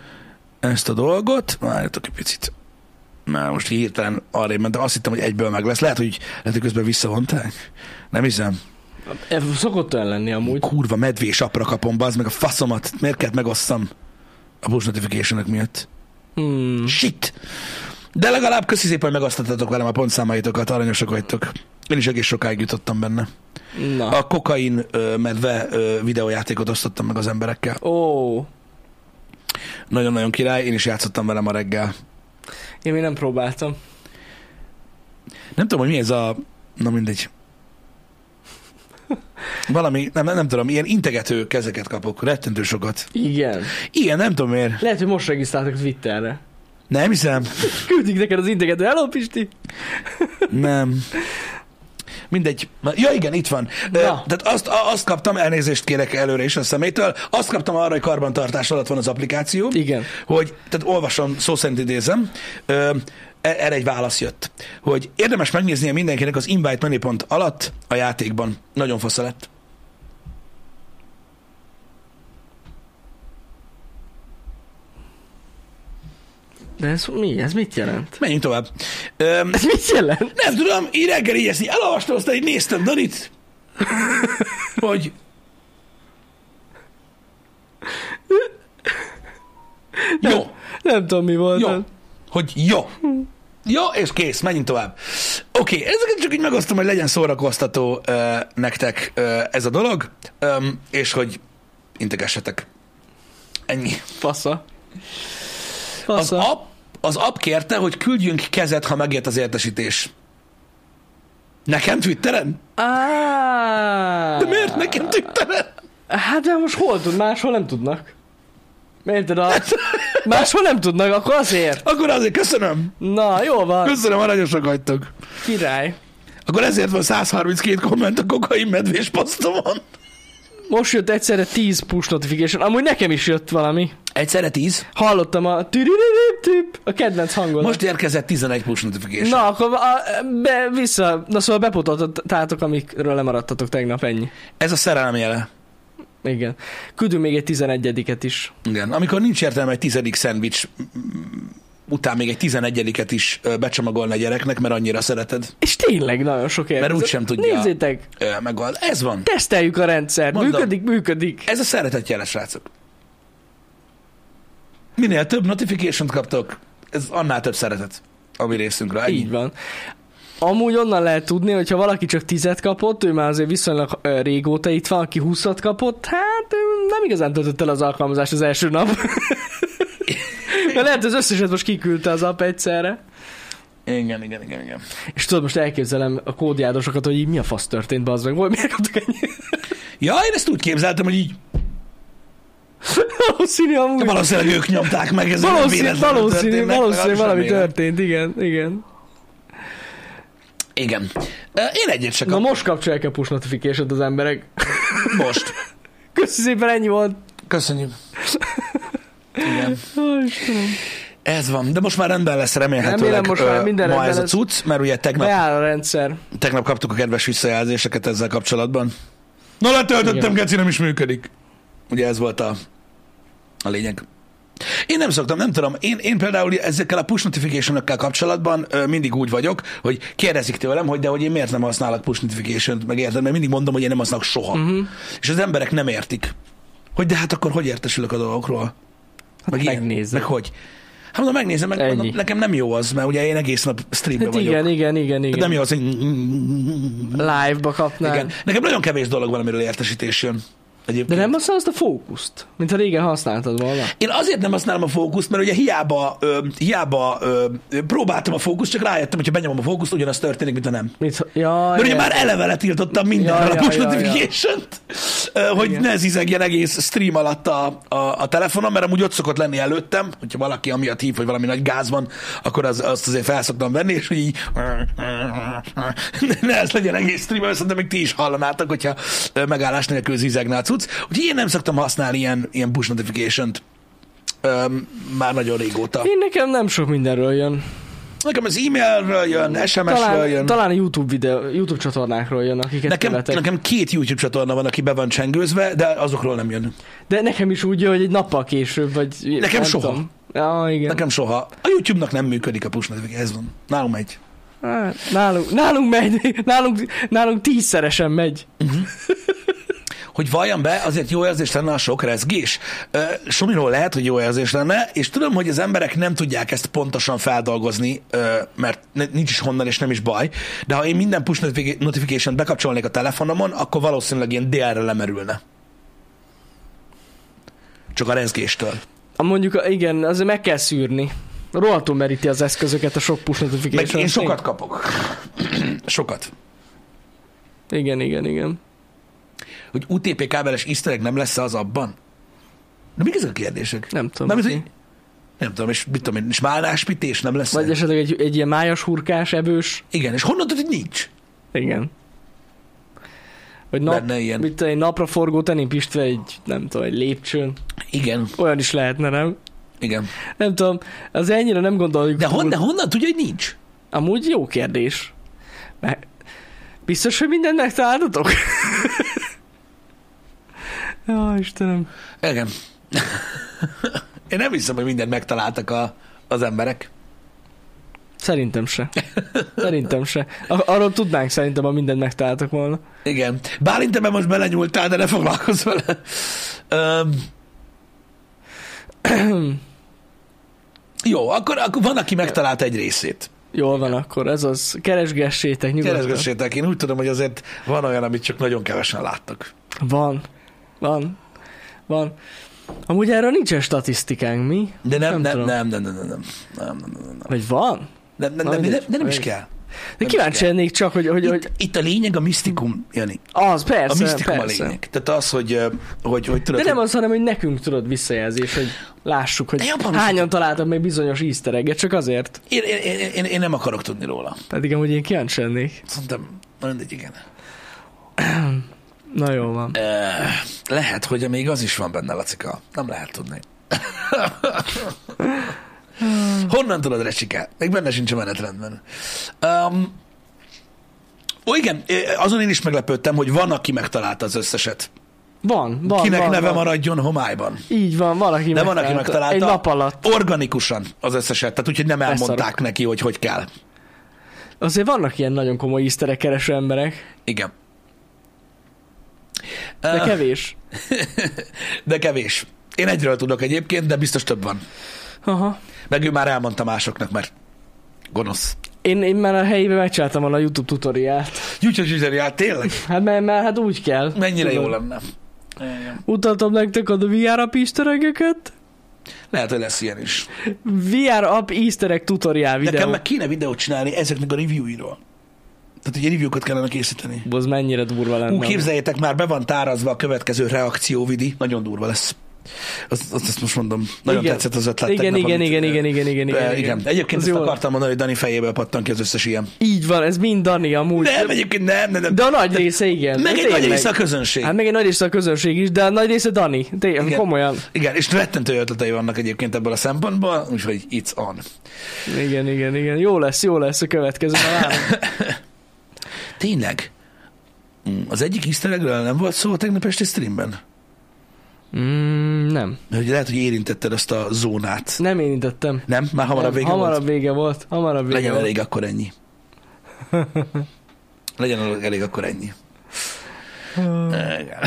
ezt a dolgot. Várjatok egy picit. Már most így hirtelen arra ment, de azt hittem, hogy egyből meg lesz. Lehet, hogy, lehet, hogy közben visszavonták. Nem hiszem.
ez E, szokott olyan lenni amúgy.
Kurva medvés apra kapom, bazd meg a faszomat. Miért kellett megosszam a push notification miatt?
Hmm.
Shit! De legalább köszi szépen, hogy megosztottatok velem a pontszámaitokat, aranyosak vagytok. Én is egész sokáig jutottam benne.
Na.
A kokain ö, medve ö, videójátékot osztottam meg az emberekkel.
Ó,
Nagyon-nagyon király, én is játszottam vele ma reggel.
én még nem próbáltam.
Nem tudom, hogy mi ez a... Na mindegy. Valami, nem, nem, nem tudom, ilyen integető kezeket kapok, rettentő sokat.
Igen.
Igen, nem tudom miért.
Lehet, hogy most regisztráltak Twitterre.
Nem hiszem.
Küldik neked az integet, hello Pisti!
Nem. Mindegy. Na, Ja, igen, itt van. Ö,
Na.
Tehát azt, a- azt kaptam, elnézést kérek előre is a szemétől, azt kaptam arra, hogy karbantartás alatt van az applikáció.
Igen.
hogy, tehát olvasom, szó szerint idézem, ö, e- erre egy válasz jött, hogy érdemes megnéznie mindenkinek az invite menüpont alatt a játékban. Nagyon fosza lett.
De ez mi? Ez mit jelent?
Menjünk tovább. Öm,
Ez mit jelent?
nem tudom, így reggel így ezt így elolvastam, aztán így néztem Danit, hogy jó,
Nem tudom, mi volt.
jó,
az.
hogy jó. Jó, és kész, menjünk tovább. Oké, okay, ezeket csak így megosztom, hogy legyen szórakoztató uh, nektek uh, ez a dolog, um, és hogy integessetek. Ennyi.
Fasza.
Az
Fasza.
app, az app kérte, hogy küldjünk kezet, ha megért az értesítés. Nekem Twitteren?
Á,
De miért nekem Twitteren?
Hát de most hol tud? Máshol nem tudnak. Érted? A... Máshol nem tudnak, akkor azért.
Akkor azért köszönöm.
Na, jó van.
Köszönöm, aranyosak vagytok.
Király.
Akkor ezért van 132 komment a kokain medvés posztomon.
Most jött egyszerre 10 push notification. Amúgy nekem is jött valami.
Egyszerre 10.
Hallottam a tüdüdüdüdüp, a kedvenc hangot.
Most érkezett 11 push notification.
Na, akkor a, be, vissza. Na szóval bepotoltatok, amikről lemaradtatok tegnap, ennyi.
Ez a szerelem jele.
Igen. Küldünk még egy 11-et is.
Igen. Amikor nincs értelme egy tizedik szendvics után még egy 11-et is ö, becsomagolni a gyereknek, mert annyira szereted.
És tényleg nagyon sok érkezett.
Mert úgysem tudja.
Nézzétek,
Ö, Megold. Ez van.
teszteljük a rendszert.
Mondom.
Működik, működik.
Ez a szeretetjele, srácok. Minél több notification kaptok, ez annál több szeretet a mi részünkre. Ennyi.
Így van. Amúgy onnan lehet tudni, hogyha valaki csak tizet kapott, ő már azért viszonylag ö, régóta itt van, aki 20 kapott, hát ö, nem igazán töltött el az alkalmazást az első nap. Mert lehet, az összeset most kiküldte az app egyszerre.
Igen, igen, igen, igen.
És tudod, most elképzelem a kódjádosokat, hogy így mi a fasz történt, bazd meg, hogy miért kaptuk ennyi?
Ja, én ezt úgy képzeltem, hogy így
Valószínű amúgy.
de valószínűleg ők nyomták meg ezzel.
Valószínű, valószínű, valószínű valami történt, igen, igen.
Igen. Ö, Én egyet se
Na
kaptam
most kapcsolják a push notification az emberek.
most.
Köszi szépen, ennyi volt.
Köszönjük. Igen.
Ó, Istenem.
Ez van, de most már rendben lesz remélhetőleg
Remélem, most már
ö,
minden
ma
rendben
ez a
lesz.
cucc, mert ugye tegnap,
Beáll a rendszer.
tegnap kaptuk a kedves visszajelzéseket ezzel kapcsolatban. Na letöltöttem,
Igen.
Geci, nem is működik. Ugye ez volt a, a lényeg. Én nem szoktam, nem tudom. Én, én például ezekkel a push notification kapcsolatban ö, mindig úgy vagyok, hogy kérdezik tőlem, hogy de hogy én miért nem használok push notification-t, meg érted, mert mindig mondom, hogy én nem használok soha.
Mhm.
Uh-huh. És az emberek nem értik. Hogy de hát akkor hogy értesülök a dolgokról? Hát meg ilyen,
megnézed.
Meg hogy? Hát mondom, megnézem, meg
Ennyi.
mondom, nekem nem jó az, mert ugye én egész nap streamben
Hát
vagyok.
igen, igen, igen,
Tehát
igen.
Hát Nem jó az, hogy...
Live-ba kapnál.
Igen. Nekem nagyon kevés dolog van, amiről értesítés jön. Egyébként.
De nem használod azt a fókuszt, mint ha régen használtad volna.
Én azért nem használom a fókuszt, mert ugye hiába, ö, hiába ö, ö, próbáltam a fókuszt, csak rájöttem, hogyha benyomom a fókuszt, ugyanaz történik, mint a nem.
Mit, ha- ja,
Mert ugye
igen.
már eleve letiltottam mindenre
Ja,
a
ja,
push
ja, ja.
notification-t, ö, hogy
Igen.
ne zizegjen egész stream alatt a, a, a telefonom, mert amúgy ott szokott lenni előttem, hogyha valaki amiatt hív, hogy valami nagy gáz van, akkor az, azt azért felszoktam venni, és hogy így ne ez legyen egész stream, mert szerintem még ti is hallanátok, hogyha ö, megállás nélkül zizegne a cucc. Úgyhogy én nem szoktam használni ilyen, ilyen push notification-t ö, már nagyon régóta.
Én nekem nem sok mindenről jön.
Nekem az e-mailről jön, SMS-ről
Talán,
jön.
talán a YouTube videó, YouTube csatornákról jön, akiket
Nekem,
követek.
nekem két YouTube csatorna van, aki be van csengőzve, de azokról nem jön.
De nekem is úgy jön, hogy egy nappal később, vagy...
Nekem
nem
soha.
tudom. Ja, igen.
Nekem soha. A YouTube-nak nem működik a push notification, ez van. Nálunk megy.
Hát, Nálunk, nálunk megy, nálunk, nálunk tízszeresen megy.
Hogy vajon be, azért jó érzés lenne a sok rezgés. Ö, Somiról lehet, hogy jó érzés lenne, és tudom, hogy az emberek nem tudják ezt pontosan feldolgozni, ö, mert ne- nincs is honnan, és nem is baj, de ha én minden push notifica- notification-t bekapcsolnék a telefonomon, akkor valószínűleg ilyen délre lemerülne. Csak a rezgéstől.
A Mondjuk, a- igen, azért meg kell szűrni. Rohadtul meríti az eszközöket a sok push notification.
Meg én sokat kapok. sokat.
Igen, igen, igen.
hogy UTP kábeles easter egg nem lesz az abban? De mik ezek a kérdések?
Nem tudom.
Nem,
Ki.
hogy, nem tudom, és mit tudom én, és málnáspités nem lesz?
Vagy esetleg egy, egy ilyen májas hurkás, ebős.
Igen, és honnan tudod, hogy nincs?
Igen. Vagy nap,
Benne ilyen.
mit tudom, egy napra forgó tenipistve egy, nem tudom, egy lépcsőn.
Igen,
Olyan is lehetne, nem?
igen.
Nem tudom, az ennyire nem gondoljuk.
De
túl.
honnan, honnan tudja, hogy nincs?
Amúgy jó kérdés. Mert biztos, hogy mindent megtaláltatok? Jó, Istenem.
Igen. Én nem hiszem, hogy mindent megtaláltak a, az emberek.
Szerintem se. Szerintem se. Ar- arról tudnánk szerintem, ha mindent megtaláltak volna.
Igen. Bálint, te be most belenyúltál, de ne foglalkozz vele. Um, jó, akkor, akkor van, aki megtalálta egy részét.
Jól van akkor, ez az. Keresgessétek nyugodtan.
Keresgessétek, én úgy tudom, hogy azért van olyan, amit csak nagyon kevesen láttak.
Van. Van. Van. Amúgy erről nincsen statisztikánk, mi?
De nem,
Nem
nem,
tudom.
nem, nem, nem, nem, nem, nem, nem, nem, nem.
Vagy van?
Nem, nem,
Na,
nem, nem,
mindegy.
nem, nem is
Mindegy.
kell.
De kíváncsi lennék csak, hogy, hogy, hogy
Itt, itt a lényeg a misztikum, Jani.
az,
A
persze,
misztikum a
persze.
lényeg. Tehát az, hogy, ö, hogy, hogy tudod,
De nem
hogy-
az, hanem, hogy nekünk tudod visszajelzés, hogy lássuk,
De
hogy
jobban
hányan találtak meg bizonyos easter egget, csak azért.
én, én, én, én, én nem akarok tudni róla.
Pedig amúgy én kíváncsi lennék.
Szerintem, na mindegy, igen.
Na jó van.
Ö, Lehet, hogy még az is van benne, Lacika. Nem lehet tudni. Honnan tudod, Recsike? Még benne sincs a menetrendben. Um, ó, igen, ö, azon én is meglepődtem, hogy van, aki megtalálta az összeset.
Van, van.
Kinek
van,
neve
van.
maradjon homályban.
Így van, van, aki
De van, aki megtalálta.
Egy nap alatt.
Organikusan az összeset, tehát úgyhogy nem elmondták
Beszarok.
neki, hogy hogy kell.
Azért vannak ilyen nagyon komoly iszterek kereső emberek,
Igen.
de
Eh,
kevés.
de kevés. Én egyről tudok egyébként, de biztos több van.
Aha.
Meg ő már elmondta másoknak, mert gonosz.
Én, én már a helyébe megcsináltam volna a YouTube tutoriát.
Gyújtsa zsizeriát, tényleg?
Hát mert, mert hát úgy kell.
Mennyire
Tudod.
jó lenne.
Mutattam nektek a VR app isteregeket.
Lehet, hogy lesz ilyen is.
VR app istereg tutoriál
Videó. Nekem
videó.
meg kéne videót csinálni ezeknek a reviewiról. Tehát ugye review-kat kellene készíteni.
Az mennyire durva lenne.
Ú, képzeljétek már, be van tárazva a következő reakció, Vidi. Nagyon durva lesz. Azt, azt, azt most mondom. Nagyon
Igen.
tetszett az ötlet.
igen,
tegnap,
igen,
amit,
igen,
ö,
igen, igen, igen,
ö,
igen,
igen. Egyébként
Az
ezt
jó.
akartam mondani, hogy Dani fejéből pattan ki az összes ilyen.
Így van, ez mind Dani amúgy.
Nem, egyébként nem, nem, nem.
De a nagy része igen.
Meg egy
Tényleg.
nagy része a közönség.
Hát meg egy nagy része a közönség is, de a nagy része Dani. Tényleg,
Igen.
komolyan.
Igen, és rettentő ötletei vannak egyébként ebből a szempontból, úgyhogy it's on.
Igen, igen, igen. Jó lesz, jó lesz a következő. már várom.
Tényleg, Mm, az egyik easter eggről nem volt szó a tegnap esti streamben?
Mm, nem.
Mert ugye lehet, hogy érintetted azt a zónát.
Nem érintettem.
Nem? Már hamarabb
Nem,
vége
hamarabb
volt?
vége volt. Hamarabb vége
Legyen
volt.
elég, akkor ennyi. Legyen elég, akkor ennyi. Igen.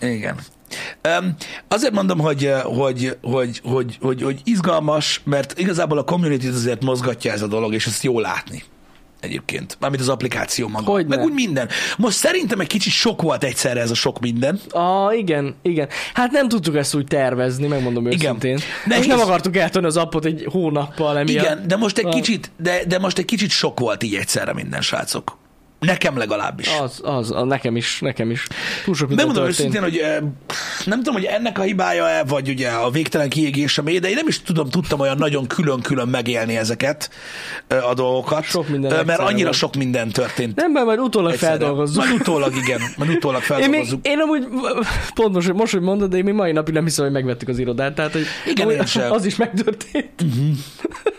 Igen. Öm, azért mondom, hogy, eh, hogy, hogy, hogy, hogy, hogy izgalmas, mert igazából a community azért mozgatja ez a dolog, és ezt jól látni egyébként. Mármint az applikáció maga.
Hogyne.
Meg úgy minden. Most szerintem egy kicsit sok volt egyszerre ez a sok minden.
Ah, igen, igen. Hát nem tudtuk ezt úgy tervezni, megmondom
Igen.
őszintén.
De
De és
hisz-
nem akartuk eltönni az appot egy hónappal emiatt.
Igen, de most egy
Ah.
kicsit, de, de most egy kicsit sok volt így egyszerre minden, srácok. Nekem legalábbis.
Az, az, az, nekem is, nekem is. Túl sok minden
Megmondom
Ah, történt.
őszintén, hogy eh, pff, nem tudom, hogy ennek a hibája-e, vagy ugye a végtelen kiégésemé, de én nem is tudom, tudtam olyan nagyon külön-külön megélni ezeket eh, a dolgokat.
Sok minden
eh, Mert
egyszerre
annyira
van.
sok minden történt.
Nem, mert majd utólag
egyszerre.
feldolgozzuk.
Majd utólag, igen. Majd utólag
Én, még,
feldolgozzuk.
én amúgy, pont most, hogy- most, hogy mondod, de én még mai napig nem hiszem, hogy megvettük az irodát, tehát hogy
Igen,
amúgy
én sem.
az is megtörtént.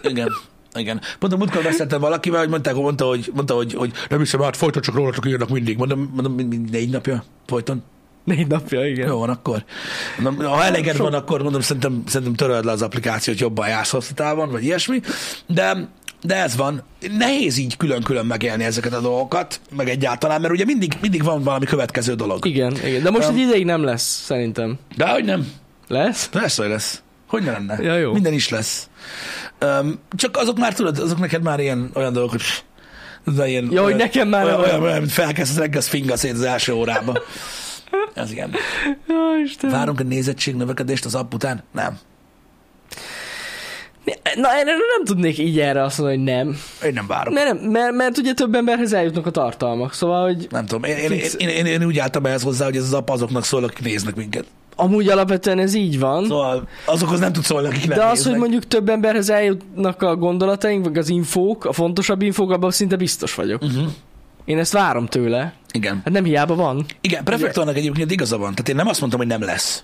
Igen. Igen. Pont a múltkor beszéltem valakivel, hogy mondták, mondta, hogy, mondta, hogy, hogy nem hiszem, hát folyton csak rólatok írnak mindig. Mondom, mondom mind- mind- négy napja folyton.
Négy napja, igen.
Jó van akkor. Mondom, ha eleged
Sok-
van, akkor mondom, szerintem, szerintem töröld le az applikációt, jobban jársz hosszú távon, vagy ilyesmi. De, de ez van. Nehéz így külön-külön megélni ezeket a dolgokat, meg egyáltalán, mert ugye mindig, mindig van valami következő dolog.
Igen, igen. De most
Um,
egy ideig nem lesz, szerintem.
De hogy nem?
Lesz?
Persze, hogy lesz. Hogy ne lenne?
Ja, jó.
Minden is lesz. Um, csak azok már tudod, azok neked már ilyen olyan dolgok, hogy pff, de ilyen,
Ja, hogy
olyan,
nekem már
olyan,
nem
olyan,
olyan.
olyan, mint felkezd az reggel, az finga szét az első órába. Ez igen.
Ja, Istenem.
Várunk a nézettség növekedést az app után? Nem.
Na, erre nem tudnék így erre azt mondani, hogy nem.
Én nem várom.
Mert, nem, mert, mert ugye több emberhez eljutnak a tartalmak, szóval, hogy
Nem tudom, én, én,
Fix.
én, én, én úgy álltam ehhez hozzá, hogy ez az app azoknak szól, akik néznek minket.
amúgy alapvetően ez így van.
Szóval azokhoz nem tud szólni, akik nem
de az,
néznek.
hogy mondjuk több emberhez eljutnak a gondolataink, vagy az infók, a fontosabb infók, abban szinte biztos vagyok.
Uh-huh.
Én ezt várom tőle.
Igen.
Hát nem hiába van.
Igen, prefektornak egyébként igaza van. Tehát én nem azt mondtam, hogy nem lesz.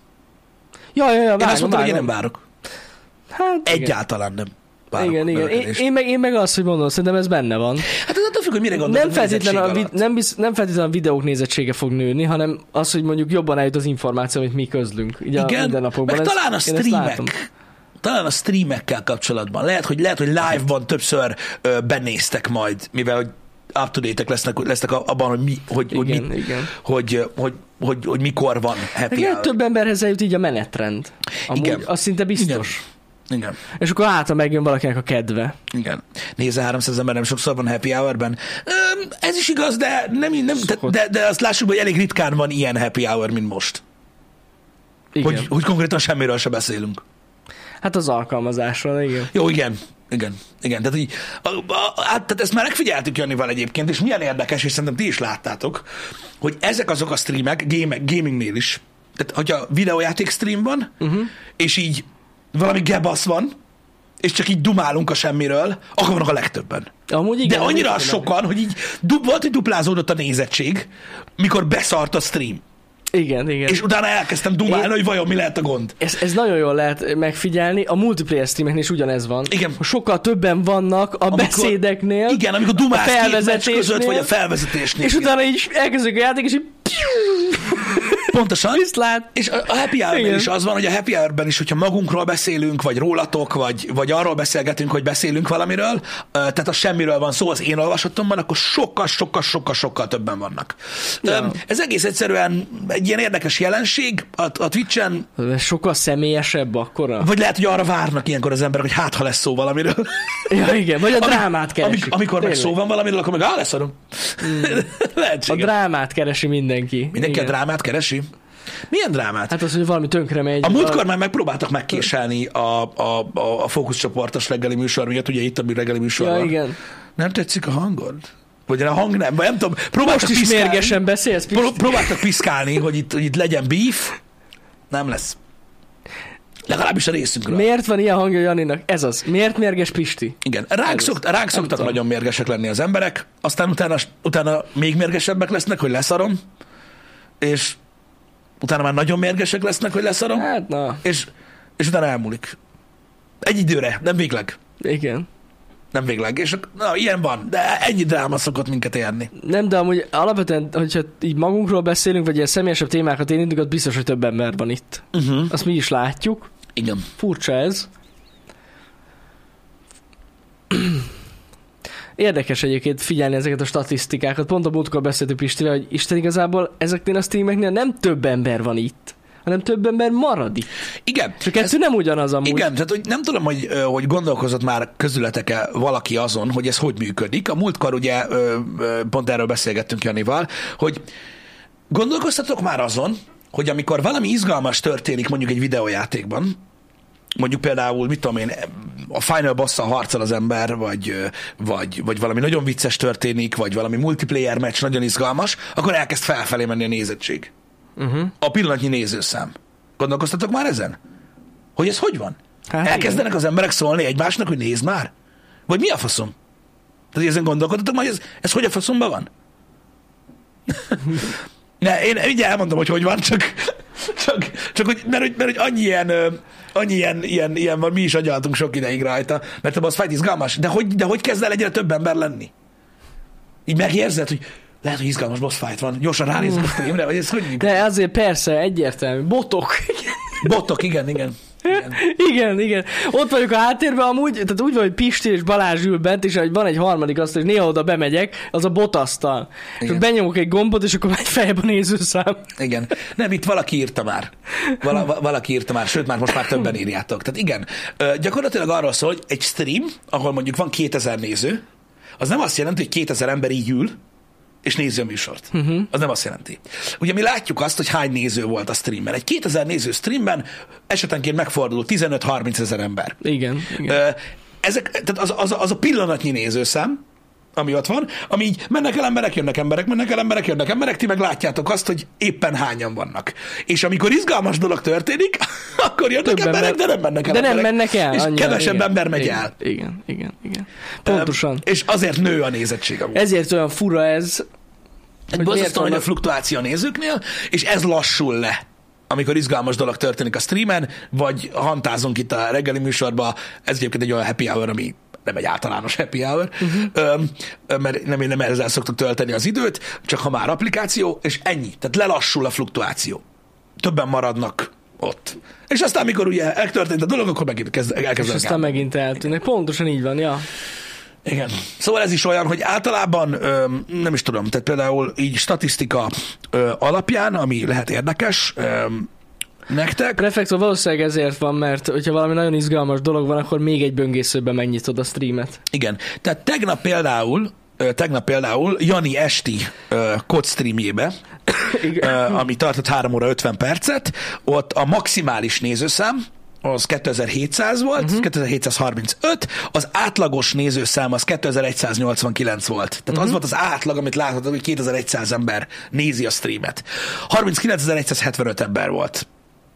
Ja, ja, ja, várom,
Én azt mondtam, hogy
várom.
én nem várok.
Hát, igen.
Egyáltalán nem. Várok
igen, igen. Én,
növekedést.
én, meg, én meg azt, hogy mondom, szerintem ez benne van.
Hát az attól függ, hogy mire gondolsz.
Nem
a
feltétlenül, a
nézettség
vid-
alatt.
nem, biz- nem feltétlenül a videók nézettsége fog nőni, hanem az, hogy mondjuk jobban eljut az információ, amit mi közlünk. Ugye a
Igen,
mindennapokban.
meg
Ezt-
talán a
én ezt látom.
streamek. Talán a streamekkel kapcsolatban. Lehet, hogy, lehet, hogy live-ban többször ö, benéztek majd, mivel hogy up to date lesznek, lesznek a- abban, hogy, mi, hogy, hogy,
Igen,
mit,
igen.
hogy, ö, hogy, hogy, hogy, mikor van
Meg
happy
lehet
hour.
több emberhez eljut így a menetrend. Amúgy
Igen.
igen. az szinte biztos.
Igen. Igen.
És akkor hát, ha megjön valakinek a kedve.
Igen. Nézze, 300 ember nem sokszor van happy hour-ben. Öm, ez is igaz, de, nem, nem, de,
Szokott.
de, de azt lássuk, hogy elég ritkán van ilyen happy hour, mint most.
Igen.
Hogy, hogy konkrétan semmiről se beszélünk.
Hát az alkalmazásról, igen.
Jó, igen. Igen, igen. Tehát, így, a, a, a, hát, tehát ezt már megfigyeltük Janival egyébként, és milyen érdekes, és szerintem ti is láttátok, hogy ezek azok a streamek, game, gamingnél is. Tehát, hogyha videójáték stream van,
Mhm.
uh-huh. és így valami gebasz van, és csak így dumálunk a semmiről, akkor vannak a legtöbben.
Amúgy igen.
De annyira
igen.
sokan, hogy így dub, volt, hogy duplázódott a nézettség, mikor beszart a stream.
Igen, igen.
És utána elkezdtem dumálni,
Én-
hogy vajon mi lehet a gond.
Ez, ez nagyon jól lehet megfigyelni, a multiplayer streameknél is ugyanez van.
Igen.
Sokkal többen vannak a Amikor, beszédeknél,
Igen, amikor dumálsz két meccs között,
felvezetésnél,
vagy a felvezetésnél.
és utána így elkezdődik a játék, és így
Pontosan.
viszlát.
És a a happy hour
Igen.
is az van, hogy a happy hour is, hogyha magunkról beszélünk, vagy rólatok, vagy, vagy arról beszélgetünk, hogy beszélünk valamiről, ö, tehát a semmiről van szó az én olvasottomban, akkor sokkal, sokkal, sokkal, sokkal többen vannak. Ja. Ez egész egyszerűen egy ilyen érdekes jelenség a, a Twitch-en,
De sokkal személyesebb akkora.
vagy lehet, hogy arra várnak ilyenkor az emberek, hogy hát, ha lesz szó valamiről.
Ja, igen, vagy a drámát keresik.
Amik, amikor meg
Tényleg.
szó van valamiről, akkor meg á, leszarom.
A
Lehetséges.
drámát keresi mindenki.
Mindenki
Igen.
a drámát keresi? Milyen drámát?
Hát az, hogy valami tönkre megy.
A múltkor már megpróbáltak megkéselni a, a, a, a fókuszcsoportos reggeli műsor miatt, ugye itt a mi reggeli műsor
Ja,
van.
igen.
Nem tetszik a hangod? Vagy a hang nem, vagy nem tudom. Próbáltak
Most is
piszkálni,
mérgesen beszélsz, Pisti?
pró- próbáltak piszkálni, hogy itt, hogy itt legyen beef. Nem lesz. Legalábbis a részünkről.
Miért van ilyen hangja Janinak? Ez az. Miért mérges Pisti?
Igen, ránk, szokt, ránk szoktak
tudom.
nagyon mérgesek lenni az emberek, aztán utána, utána még mérgesebbek lesznek, hogy leszarom, és utána már nagyon mérgesek lesznek, hogy leszarom,
Hát na,
és, és utána elmúlik. Egy időre, nem végleg.
igen.
Nem végleg. És ak- na, ilyen van, de ennyi dráma szokott minket érni.
Nem, de amúgy alapvetően, hogyha így magunkról beszélünk, vagy ilyen személyesebb témákat érintünk, az biztos, hogy több ember van itt.
Uh-huh.
Azt mi is látjuk.
Igen.
Furcsa ez. Érdekes egyébként figyelni ezeket a statisztikákat. Pont a múltkor beszéltünk Pistivel, hogy Isten igazából ezeknél a streameknél nem több ember van itt, hanem több ember marad itt.
Igen.
Csak kettő nem ugyanaz amúgy.
Igen, tehát hogy nem tudom, hogy, ö, hogy gondolkozott már közületek-e valaki azon, hogy ez hogy működik. A múltkor ugye ö, ö, pont erről beszélgettünk Janival, hogy gondolkoztatok már azon, hogy amikor valami izgalmas történik mondjuk egy videójátékban, mondjuk például, mit tudom én, a Final boss harcol az ember, vagy, ö, vagy, vagy valami nagyon vicces történik, vagy valami multiplayer meccs nagyon izgalmas, akkor elkezd felfelé menni a nézettség.
Uh-huh.
A pillanatnyi nézőszám. Gondolkoztatok már ezen? Hogy ez hogy van?
Hát
Elkezdenek az emberek szólni egymásnak, hogy nézd már? Vagy mi a faszom? Tehát hogy ezen gondolkodtatok már, hogy ez, ez hogy a faszomban van? ne, én ugye elmondom, hogy hogy van, csak, csak, csak hogy, mert, hogy, mert hogy annyi, ilyen, ö, annyi ilyen, ilyen, ilyen van, mi is agyaltunk sok ideig rajta, mert az fight izgalmas, de hogy, de hogy kezd el egyre több ember lenni? Így megérzed, hogy lehet, hogy izgalmas boss fight van, gyorsan ránézek a streamre, vagy ez hogy működik?
De azért persze, egyértelmű. Botok.
Botok, igen, igen. igen.
igen, igen. Ott vagyok a háttérben amúgy, tehát úgy van, hogy Pisti és Balázs ül bent, és ahogy van egy harmadik azt, hogy néha oda bemegyek, az a botasztal. És
Igen.
benyomok egy gombot, és akkor megy fejbe a nézőszám.
Igen. Nem, itt valaki írta már. Vala, va- valaki írta már, sőt, már most már többen írjátok. Tehát igen, ö, gyakorlatilag arról szól, hogy egy stream, ahol mondjuk van 2000 néző, az nem azt jelenti, hogy 2000 ember így ül, és nézi a műsort. Uh-huh. Az nem azt jelenti. Ugye mi látjuk azt, hogy hány néző volt a streamben. Egy 2000 néző streamben esetenként megfordul 15-30 ezer ember.
Igen, igen.
Ö, Ezek, tehát az, az, az a pillanatnyi nézőszám, ami ott van, ami így mennek el emberek, jönnek emberek, mennek el emberek, jönnek emberek, ti meg látjátok azt, hogy éppen hányan vannak. És amikor izgalmas dolog történik, akkor jönnek
Több
emberek,
ember-
de nem mennek el
De nem
emberek.
mennek el.
És
annyira,
kevesebb
igen.
ember megy
igen,
el.
Igen, igen, igen. Pontosan.
Ö, És azért nő a nézettség amúgy.
Ezért olyan fura ez.
Egy
hogy miért
borzasztó nagy a
vannak-
fluktuáció a nézőknél, és ez lassul le amikor izgalmas dolog történik a streamen, vagy hantázunk itt a reggeli műsorba, ez egyébként egy olyan happy hour, ami nem egy általános happy hour,
Mhm.
uh-huh. mert nem, nem ezzel szoktuk tölteni az időt, csak ha már applikáció, és ennyi. Tehát lelassul a fluktuáció. Többen maradnak ott. És aztán, mikor ugye megtörtént a dolog, akkor megint kezd,
És
elkezdenek
aztán megint eltűnnek. Pontosan így van, ja.
igen. Szóval ez is olyan, hogy általában öm, nem is tudom, tehát például így statisztika ö, alapján, ami lehet érdekes öm, nektek,
Reflexor valószínűleg ezért van, mert hogyha valami nagyon izgalmas dolog van, akkor még egy böngészőben megnyitod a streamet.
igen. Tehát tegnap például ö, tegnap például Jani esti ö, kod streamjébe, ö, ami tartott 3 óra 50 percet, ott a maximális nézőszám az 2700 volt, uh-huh. 2735, az átlagos nézőszám az 2189 volt. Tehát uh-huh. az volt az átlag, amit láthatod, hogy 2100 ember nézi a streamet. 39175 ember volt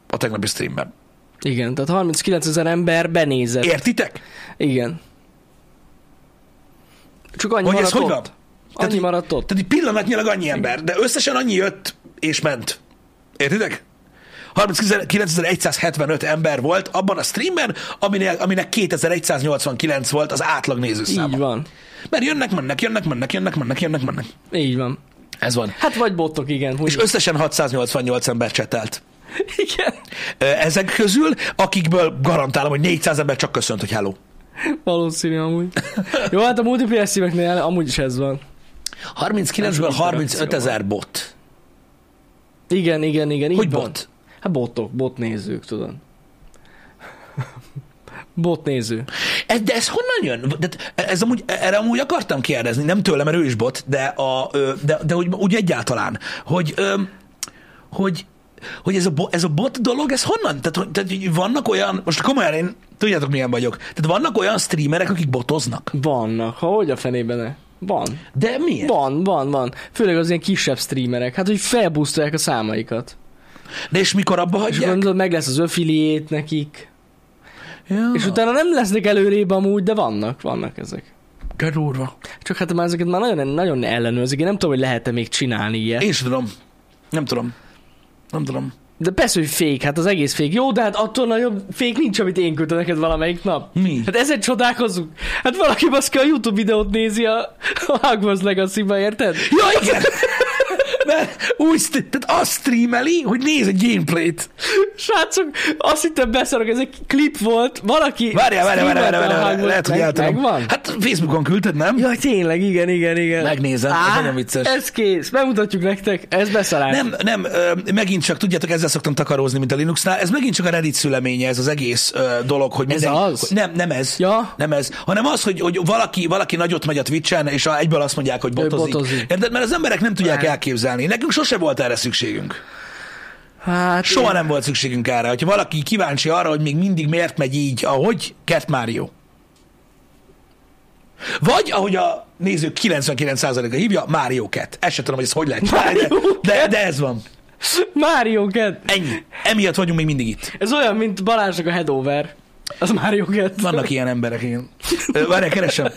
a tegnapi streamben.
Igen, tehát 39 ezer ember benézett.
Értitek?
Igen. Csak annyi
Hogy ez
maradt
hogy
ott.
van?
Annyi
így-
maradt ott.
Tehát így pillanatnyilag annyi ember, de összesen annyi jött és ment Értitek? 39.175 ember volt abban a streamben, aminek, aminek 2189 volt az átlag nézőszáma.
Így van.
Mert jönnek, mennek, jönnek, mennek, jönnek, mennek, jönnek, mennek.
Így van.
Ez van.
Hát vagy botok, igen. Hogy...
És összesen 688 ember csetelt.
Igen.
Ö, Ezek közül, akikből garantálom, hogy 400 ember csak köszönt, hogy hello.
Valószínű amúgy. Jó, hát a multiplayer szíveknél amúgy is ez van.
39-ből 35 ezer bot.
Igen, igen, igen. így
Hogy
van.
bot?
Hát botok, botnézők, tudod. botnéző.
Ez, de ez honnan jön? De ez amúgy, erre amúgy akartam kérdezni, nem tőlem, mert ő is bot, de, a, ö, de, de úgy, úgy egyáltalán, hogy, ö, hogy, hogy ez, a bo, ez a bot dolog, ez honnan? Tehát, hogy- tehát hogy vannak olyan, most komolyan én, tudjátok milyen vagyok, tehát vannak olyan streamerek, akik botoznak.
Vannak. Ha hogy a fenében ne? Van.
De miért?
Van, van, van. Főleg az ilyen kisebb streamerek. Hát, hogy felbusztolják a számaikat.
De és mikor abba
És akkor
hagyják?
tudod, meg lesz az affiliét nekik.
Ja,
És utána nem lesznek előrébb amúgy, de vannak, vannak ezek.
de durva.
Csak hát már ezeket már nagyon, nagyon ellenőrzik. Én nem tudom, hogy lehet-e még csinálni ilyet.
Én sem tudom. Nem tudom. Nem tudom.
De persze, hogy fék, hát az egész fék. Jó, de hát attól nagyobb fék nincs, amit én küldtem neked valamelyik nap.
Mi?
Hát ezen csodálkozunk. Hát valaki baszki a YouTube videót nézi a, a Hogwarts Legacy-ba, érted?
Ja, igen! Mert úgy, szt- tehát azt streameli, hogy néz egy gameplayt.
Srácok, azt hittem beszarok, ez egy klip volt, valaki...
Várjál, várjál, várjál,
streamelte
várjál, várjál,
a
várjál, lehet,
Hogwarts-
hogy
meg-
eltudom.
Megvan?
Hát Facebookon küldted, nem?
Jaj, tényleg, igen, igen, igen.
Megnézem, ez nagyon vicces.
Ez kész, megmutatjuk nektek, ez beszarás.
Nem, nem, ö, megint csak, tudjátok, ezzel szoktam takarózni, mint a Linuxnál, ez megint csak a Reddit szüleménye, ez az egész ö, dolog, hogy
Ez az?
hogy- Nem, nem ez.
Ja.
Nem ez, hanem az, hogy, hogy valaki, valaki nagyot megy a Twitch-en, és a- egyből azt mondják, hogy botozik.
botozik.
Érted? Mert az emberek nem tudják
Nem.
elképzelni. Nekünk sose volt erre szükségünk.
Hát,
Soha nem volt szükségünk erre. Hogyha valaki kíváncsi arra, hogy még mindig miért megy így, ahogy Kert Mário. Vagy, ahogy a nézők 99%-a hívja, Mário Kett. Ezt sem tudom, hogy ez hogy lehet csinálni, de,
Mario
de, de ez van.
Mario Kart.
Ennyi. Emiatt vagyunk még mindig itt.
Ez olyan, mint Balázsnak a headover. Az Mario Kart.
Vannak ilyen emberek, igen. Ö, Várjál, keresem.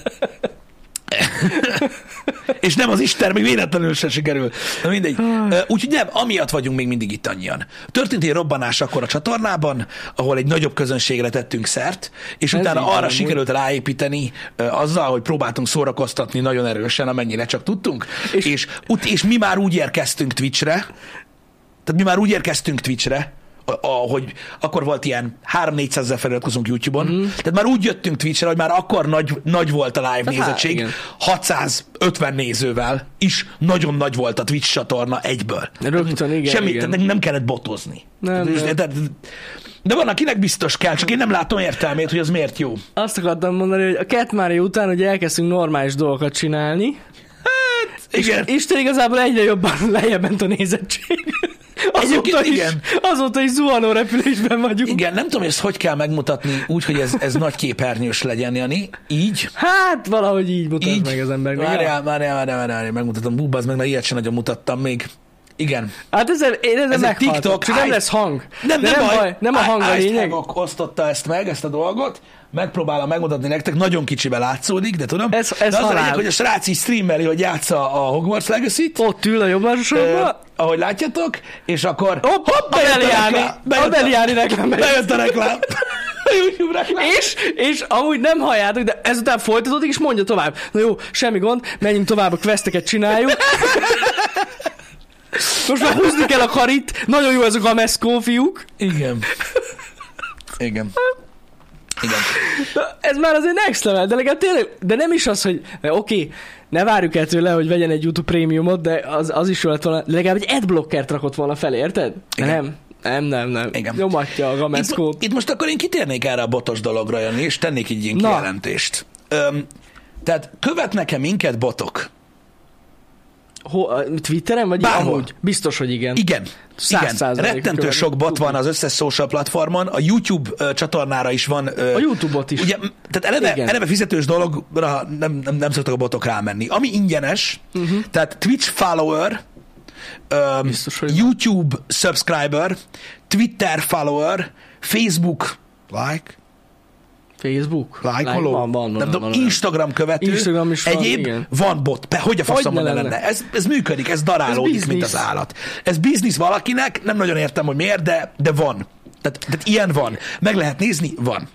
És nem az Isten, még véletlenül se sikerül. Na mindegy. Ö, Úgyhogy nem, amiatt vagyunk még mindig itt annyian. Történt egy robbanás akkor a csatornában, ahol egy nagyobb közönségre tettünk szert, és
Ez így
utána
van,
arra
amúgy.
sikerült ráépíteni ö, azzal, hogy próbáltunk szórakoztatni nagyon erősen, amennyire csak tudtunk, és, és, ut- és mi már úgy érkeztünk Twitchre, tehát mi már úgy érkeztünk Twitchre, a- a- hogy akkor volt ilyen 3-400 ezer feliratkozónk YouTube-on, mm. tehát már úgy jöttünk Twitchre, hogy már akkor nagy, nagy volt a live
Mhm. Hát,
nézettség,
igen.
650 nézővel is nagyon nagy volt a Twitch csatorna egyből.
Rögtön, igen,
Semmit,
igen.
tehát nekünk nem kellett botozni.
Nem,
Tehát-
nem.
tehát- De van, akinek biztos kell, csak én nem látom értelmét, hogy az miért jó.
Azt akartam mondani, hogy a Cat Mario után ugye elkezdtünk normális dolgokat csinálni,
Hát, Igen.
és Isten igazából egyre jobban lejjebb ment a nézettség. Azóta
Egyébként
is,
igen.
azóta is zuhanó repülésben vagyunk.
Igen, nem tudom, hogy ezt hogy kell megmutatni úgy, hogy ez, ez nagy képernyős legyen, Jani. Így.
Hát valahogy így mutat meg az embernek.
Várjál, várjál, várjál, várjál, várjál, megmutatom. Bú, az meg, mert ilyet sem nagyon mutattam még. Igen.
Hát ezzel, én ezzel
Ez egy
meghaltam,
TikTok,
Csak nem
áj-
lesz hang. De nem baj. Nem a hang a
Ice
lényeg.
Havoc osztotta ezt meg, ezt a dolgot. Megpróbálom megmutatni nektek, nagyon kicsibe látszódik, de tudom.
Ez- ez
de az a
halál.
lényeg, hogy a srác így streameli, hogy játsza a Hogwarts legacy
Ott ül a jobb sorba.
ahogy látjátok, és akkor...
Hopp, hopp,
bejött a
Beliáni.
reklám,
A
bejött
Beliáni reklám.
Bejött a reklám. A YouTube reklám.
És, és amúgy nem halljátok, de ezután folytatódik, és mondja tovább. Na jó, semmi gond, menjünk tovább, a questeket csináljuk. Most már húzni kell a karit, nagyon jó ez a gameszkó, fiúk.
Igen. Igen. Igen.
Na, Ez már azért next level, de legalább tényleg, de nem is az, hogy de oké, ne várjuk el tőle, hogy vegyen egy YouTube prémiumot, de az, az is jó lett volna, de legalább egy adblockert rakott volna fel, érted? De
Igen.
nem, nem, nem, nem.
Igen.
Nyomatja a gameszkót.
Itt, itt most akkor én kitérnék erre a botos dologra, Jani, és tennék egy ilyen
Na.
kijelentést. Öm, tehát követnek-e minket botok?
Ho, a Twitteren vagy?
Bárhol.
Amúgy? Biztos, hogy igen.
Igen.
Száz
Igen,
százalék
rettentő
követnek.
sok bot van az összes social platformon, a YouTube ö, csatornára is van. ö,
A YouTube-ot is.
Ugye, m- tehát eleve,
Igen.
eleve fizetős dologra nem, nem, nem szoktak a botok rámenni. Ami ingyenes,
Mhm.
uh-huh. tehát Twitch follower, öm,
Biztos, hogy van.
YouTube subscriber, Twitter follower, Facebook like,
Facebook?
Lájkoló?
Van, van, van.
nem
van,
tudom,
van,
Instagram követő.
Instagram is van,
Egyéb
igen.
van bot. Pe, hogy a faszom
Hogyne
ne lenne?
lenne?
Ez, ez működik, ez darálódik,
Ez
mint az
biznisz.
állat. Ez biznisz valakinek, nem nagyon értem, hogy miért, de, de van. Tehát, tehát ilyen van. Meg lehet nézni, van.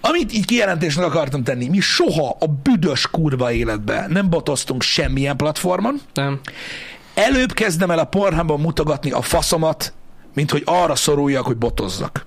Amit így kijelentésnek akartam tenni, mi soha a büdös kurva életbe nem botoztunk semmilyen platformon,
Nem.
előbb kezdem el a pornhában mutogatni a faszomat, mint hogy arra szoruljak, hogy botozzak.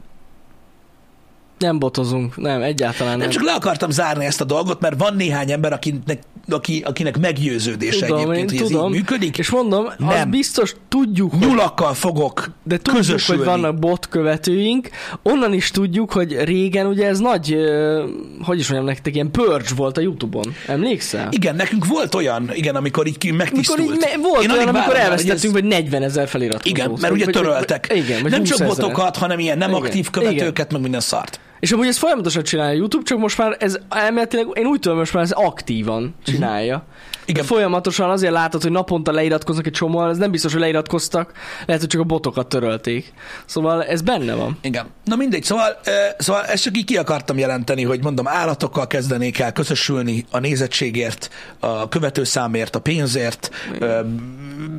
Nem botozunk, nem, egyáltalán nem.
Nem csak le akartam zárni ezt a dolgot, mert van néhány ember, akinek, aki, akinek meggyőződése
tudom, én
egyébként, hogy ez
tudom.
így működik.
És mondom, nem. az
Nem.
biztos tudjuk, hogy
Nyulakkal fogok
de tudjuk,
közösülni.
hogy vannak bot követőink. Onnan is tudjuk, hogy régen ugye ez nagy, ö, hogy is mondjam nektek, ilyen pörcs volt a Youtube-on. Emlékszel?
Igen, nekünk volt olyan, igen, amikor így ki-
Mikor
megtisztult.
így me- volt
Én
olyan,
alig
amikor
várom el, hogy
elvesztettünk,
ez-
vagy 40 ezer feliratkozót.
Igen, mert ugye
Vagy- vagy-
töröltek.
Igen, vagy
nem
20
csak
000.
botokat, hanem ilyen nem
Igen,
aktív
igen.
követőket, meg minden szart.
És amúgy ezt folyamatosan csinálja a YouTube, csak most már ez elméletileg, én úgy tudom, most már ez aktívan csinálja.
Igen.
Igen. Folyamatosan azért látod, hogy naponta leiratkoznak egy csomóan, ez nem biztos, hogy leiratkoztak, lehet, hogy csak a botokat törölték. Szóval ez benne van.
Igen. Na mindegy, szóval, ö, szóval ezt csak így ki akartam jelenteni, hogy mondom, állatokkal kezdenék el közösülni a nézettségért, a követőszámért, a pénzért, ö,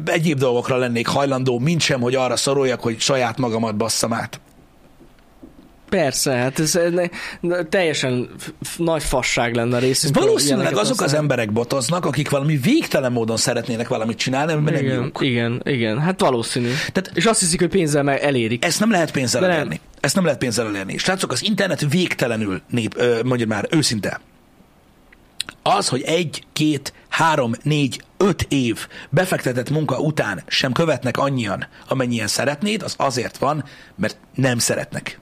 egyéb dolgokra lennék hajlandó, mint sem, hogy arra szoruljak, hogy saját magamat basszam át.
Persze, hát ez eh, ne, ne- teljesen f- f- nagy fasság lenne a
Ez
részünkről.
valószínűleg
ilyeneket
azok az
használni.
emberek botoznak, akik valami végtelen módon szeretnének valamit csinálni, mert nem
Igen,
jók.
igen, igen, hát valószínű.
Tehát- E-
Tehát, és azt hiszik, hogy pénzzel meg elérik.
Ezt nem lehet pénzzel
De nem.
elérni. Ezt nem lehet pénzzel elérni. Srácok, az internet végtelenül nép, ö, mondjuk már őszinte. Az, hogy egy, két, három, négy, öt év befektetett munka után sem követnek annyian, amennyien szeretnéd, az azért van, mert nem szeretnek.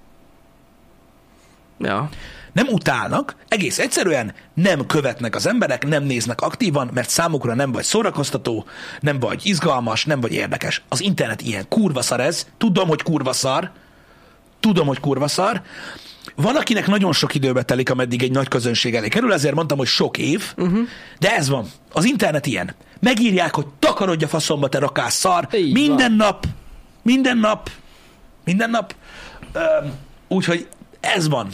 Ja.
Nem utálnak, egész egyszerűen nem követnek az emberek, nem néznek aktívan, mert számukra nem vagy szórakoztató, nem vagy izgalmas, nem vagy érdekes. Az internet ilyen kurva szar ez, tudom, hogy kurva szar, tudom, hogy kurva szar. Van, akinek nagyon sok időbe telik, ameddig egy nagy közönség elé kerül, ezért mondtam, hogy sok év, uh-huh. de ez van. Az internet ilyen. Megírják, hogy takarodj a faszomba, te rakás szar.
Így
minden nap, minden nap, minden nap. Öm, Úgyhogy ez van.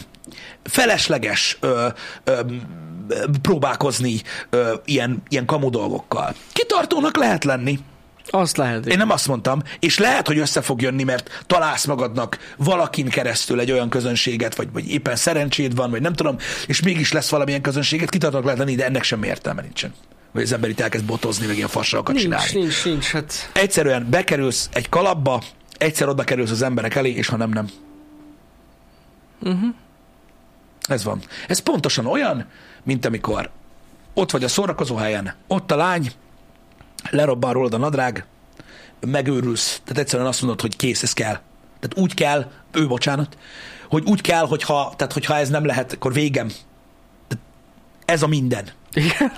Felesleges ö, ö, ö, próbálkozni ö, ilyen, ilyen kamu dolgokkal. Kitartónak lehet lenni.
Azt lehet.
Én nem azt mondtam, és lehet, hogy össze fog jönni, mert találsz magadnak valakin keresztül egy olyan közönséget, vagy, vagy éppen szerencséd van, vagy nem tudom, és mégis lesz valamilyen közönséget, kitartanak lehet lenni, de ennek semmi értelme nincsen. Vagy az ember itt elkezd botozni, meg ilyen fasságokat csinálni.
nincs, nincs, nincs, hát
Egyszerűen bekerülsz egy kalapba, egyszer oda kerülsz az emberek elé, és ha nem, nem. Uh-huh. Ez van. Ez pontosan olyan, mint amikor ott vagy a szórakozó helyen, ott a lány, lerobban rólad a nadrág, megőrülsz. Tehát egyszerűen azt mondod, hogy kész, ez kell. Tehát úgy kell, ő bocsánat, hogy úgy kell, hogyha, tehát hogyha ez nem lehet, akkor végem. Tehát ez a minden
igen.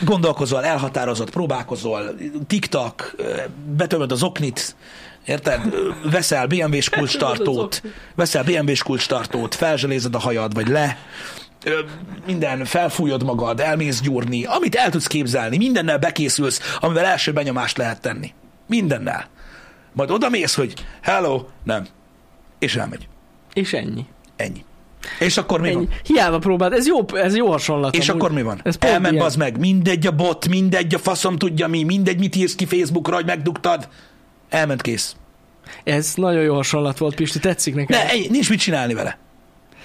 gondolkozol, elhatározott, próbálkozol, TikTok, ö, betömöd az oknit, érted? Ö, Veszel BMW-s kulcstartót, veszel BMW-s kulcstartót, felzselézed a hajad, vagy le, Ö, minden, felfújod magad, elmész gyúrni, amit el tudsz képzelni, mindennel bekészülsz, amivel első benyomást lehet tenni. Mindennel. Majd oda mész, hogy hello, nem. És elmegy.
És ennyi.
Ennyi. És akkor mi
Ennyi.
van?
Hiába próbált, ez jó, ez jó hasonlat.
És
amúgy.
akkor mi van?
Ez pont
Elment
ilyen.
az meg, mindegy a bot, mindegy a faszom tudja mi, mindegy mit írsz ki Facebookra, hogy megdugtad. Elment kész.
Ez nagyon jó hasonlat volt, Pisti, tetszik nekem.
Ne, ennyi, nincs mit csinálni vele.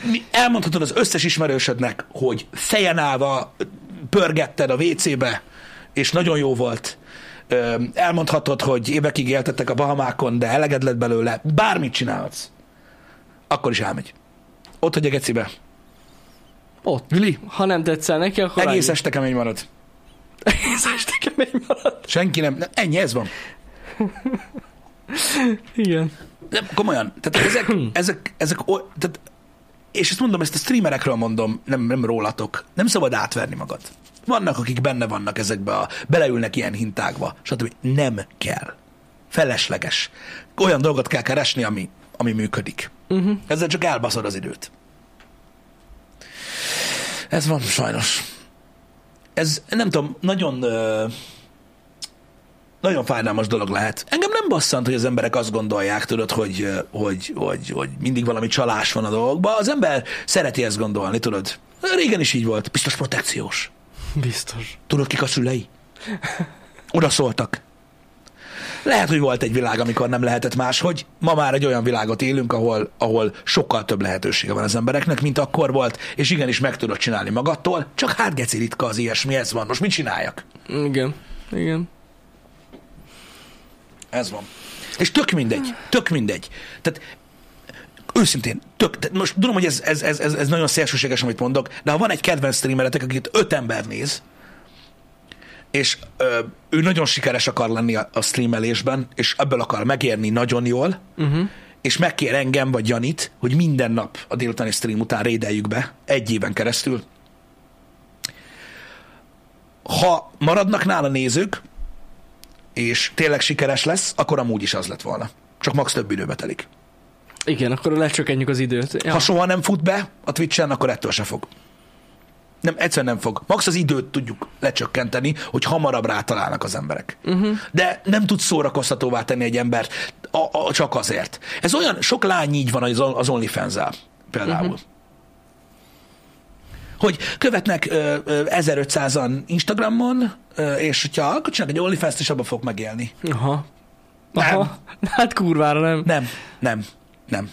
Mi- Elmondhatod az összes ismerősödnek, hogy fejen állva pörgetted a WC-be, és nagyon jó volt. Öm, Elmondhatod, hogy évekig éltettek a Bahamákon, de eleged lett belőle. Bármit csinálhatsz. Akkor is elmegy. Ott vagy a gecibe.
Ott.
Vili,
Ha nem tetszel neki, akkor
egész
annyi.
este kemény marad.
Egész este kemény maradt.
Senki nem. nem, Ennyi, ez van.
Igen.
Nem, komolyan. Tehát ezek, ezek, ezek o- tehát, és ezt mondom, ezt a streamerekről mondom, nem, nem rólatok. Nem szabad átverni magad. Vannak, akik benne vannak ezekbe a, beleülnek ilyen hintákba, stb. Nem kell. Felesleges. Olyan dolgot kell keresni, ami, ami működik. Uh-huh. Ezzel csak elbaszod az időt. Ez van, sajnos. Ez, nem tudom, nagyon... Ö, nagyon fájdalmas dolog lehet. Engem nem basszant, hogy az emberek azt gondolják, tudod, hogy, ö, hogy, hogy, hogy mindig valami csalás van a dolgokban. Az ember szereti ezt gondolni, tudod. Régen is így volt. Biztos protekciós.
Biztos.
Tudod, kik a szülei? Oda szóltak. Lehet, hogy volt egy világ, amikor nem lehetett máshogy. Ma már egy olyan világot élünk, ahol, ahol sokkal több lehetősége van az embereknek, mint akkor volt, és igenis meg tudod csinálni magadtól, csak hát geci ritka az ilyesmi, ez van. Most mit csináljak?
Igen. Igen.
Ez van. És tök mindegy, tök mindegy. Tehát őszintén, tök, tehát most tudom, hogy ez, ez, ez, ez, ez nagyon szélsőséges, amit mondok, de ha van egy kedvenc streameretek, akit öt ember néz, és ö, ő nagyon sikeres akar lenni a, a streamelésben, és ebből akar megérni nagyon jól, uh-huh. és megkér engem vagy Janit, hogy minden nap a délutáni stream után rédeljük be, egy éven keresztül. Ha maradnak nála nézők, és tényleg sikeres lesz, akkor amúgy is az lett volna. Csak max több időbe telik.
Igen, akkor lecsökkentjük az időt. Ja.
Ha soha nem fut be a Twitch-en, akkor ettől se fog. Nem, egyszerűen nem fog. Max az időt tudjuk lecsökkenteni, hogy hamarabb rátalálnak az emberek. Uh-huh. De nem tudsz szórakoztatóvá tenni egy embert a, a, csak azért. Ez olyan, sok lány így van az, az onlyfans például. Uh-huh. Hogy követnek ö, ö, 1500-an Instagramon, ö, és hogyha akkor csinálnak egy OnlyFans-t, és abban fog megélni.
Aha.
Nem.
Aha. Hát kurvára nem.
Nem, nem, nem.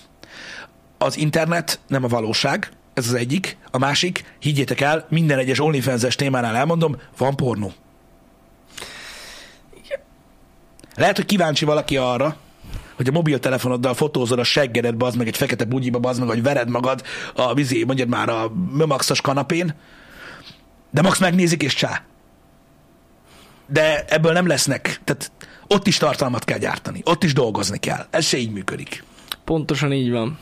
Az internet nem a valóság, ez az egyik. A másik, higgyétek el, minden egyes OnlyFans-es témánál elmondom, van pornó. Lehet, hogy kíváncsi valaki arra, hogy a mobiltelefonoddal fotózod a seggedet, bazd meg egy fekete bugyiba, bazd meg, vagy vered magad a vizé, mondjad már a Maxos kanapén, de Max megnézik és csá. De ebből nem lesznek, tehát ott is tartalmat kell gyártani, ott is dolgozni kell. Ez se így működik.
Pontosan így van.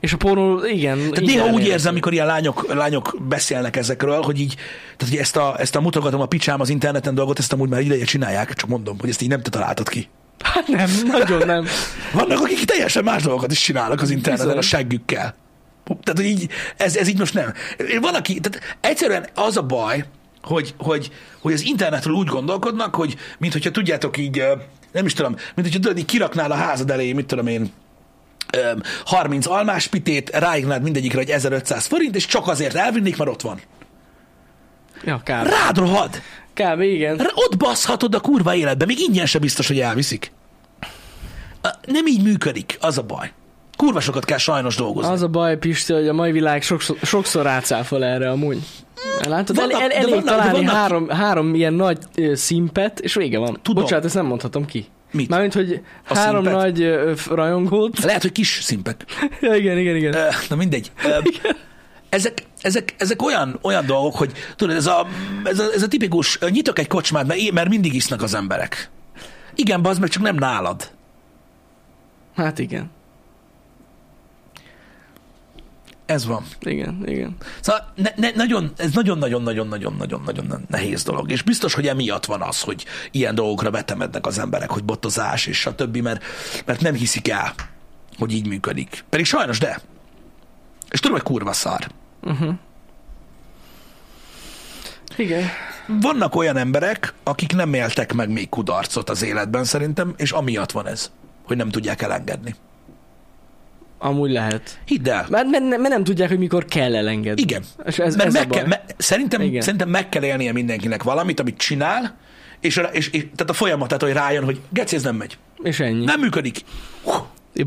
És a pornó, igen.
Tehát
így
néha úgy
elérhető.
érzem, amikor ilyen lányok, lányok beszélnek ezekről, hogy így, tehát hogy ezt a, ezt a mutogatom a picsám az interneten dolgot, ezt amúgy már ideje csinálják, csak mondom, hogy ezt így nem te találtad ki.
Hát nem, nagyon nem.
Vannak, akik teljesen más dolgokat is csinálnak az interneten
Bizony.
a seggükkel. Tehát, hogy így, ez, ez így most nem. Van, aki, tehát egyszerűen az a baj, hogy, hogy, hogy az internetről úgy gondolkodnak, hogy mint hogyha tudjátok így, ö, nem is tudom, mint hogyha tudod, így kiraknál a házad elé, mit tudom én, ö, 30 almáspitét, ráignád mindegyikre egy 1500 forint, és csak azért elvinnék, mert ott van.
Ja, kb.
Rád rohad!
Kb. igen.
R- Ott baszhatod a kurva életbe, még ingyen se biztos, hogy elviszik. A- Nem így működik, az a baj. Kurva sokat kell sajnos dolgozni. Az
Az a baj, Pisti, hogy a mai világ sokszor, sokszor rácáfol erre amúgy. Látod,
Vannak-
vannak, el,
de
el, elég
vannak- de
találni
vannak-
három, három ilyen nagy ö, szimpet, és vége van.
Tudom.
Bocsánat, ezt nem mondhatom ki.
Mit?
Mármint, hogy
A
három
szimpet?
nagy ö, f- rajongót.
Lehet, hogy kis szimpek.
ja, igen, igen, igen.
Ö, Na mindegy. Ö, Ezek, ezek, ezek olyan, olyan dolgok, hogy tudod, ez a, ez a, ez a tipikus, ö, nyitok egy kocsmát, mert, é- mert mindig isznak az emberek. Igen, bazd meg, csak nem nálad.
Hát igen,
Ez van.
igen, igen.
Szóval ne, ne, nagyon, ez nagyon-nagyon-nagyon-nagyon-nagyon-nagyon nehéz dolog, és biztos, hogy emiatt van az, hogy ilyen dolgokra betemednek az emberek, hogy botozás és a többi, mert, mert nem hiszik el, hogy így működik. Pedig sajnos, de. És tudom, hogy kurva szar.
Igen.
Vannak olyan emberek, akik nem éltek meg még kudarcot az életben szerintem, és amiatt van ez, hogy nem tudják elengedni.
Amúgy lehet.
Hidd el.
Mert, mert, mert nem tudják, hogy mikor kell elengedni.
Igen.
És ez,
Mert
ez
meg
a baj.
kell, me, szerintem,
Igen.
szerintem meg kell élnie mindenkinek valamit, amit csinál, és, a- és, és tehát a folyamatát, hogy rájön, hogy geci, ez nem megy.
És ennyi.
Nem működik. Hú,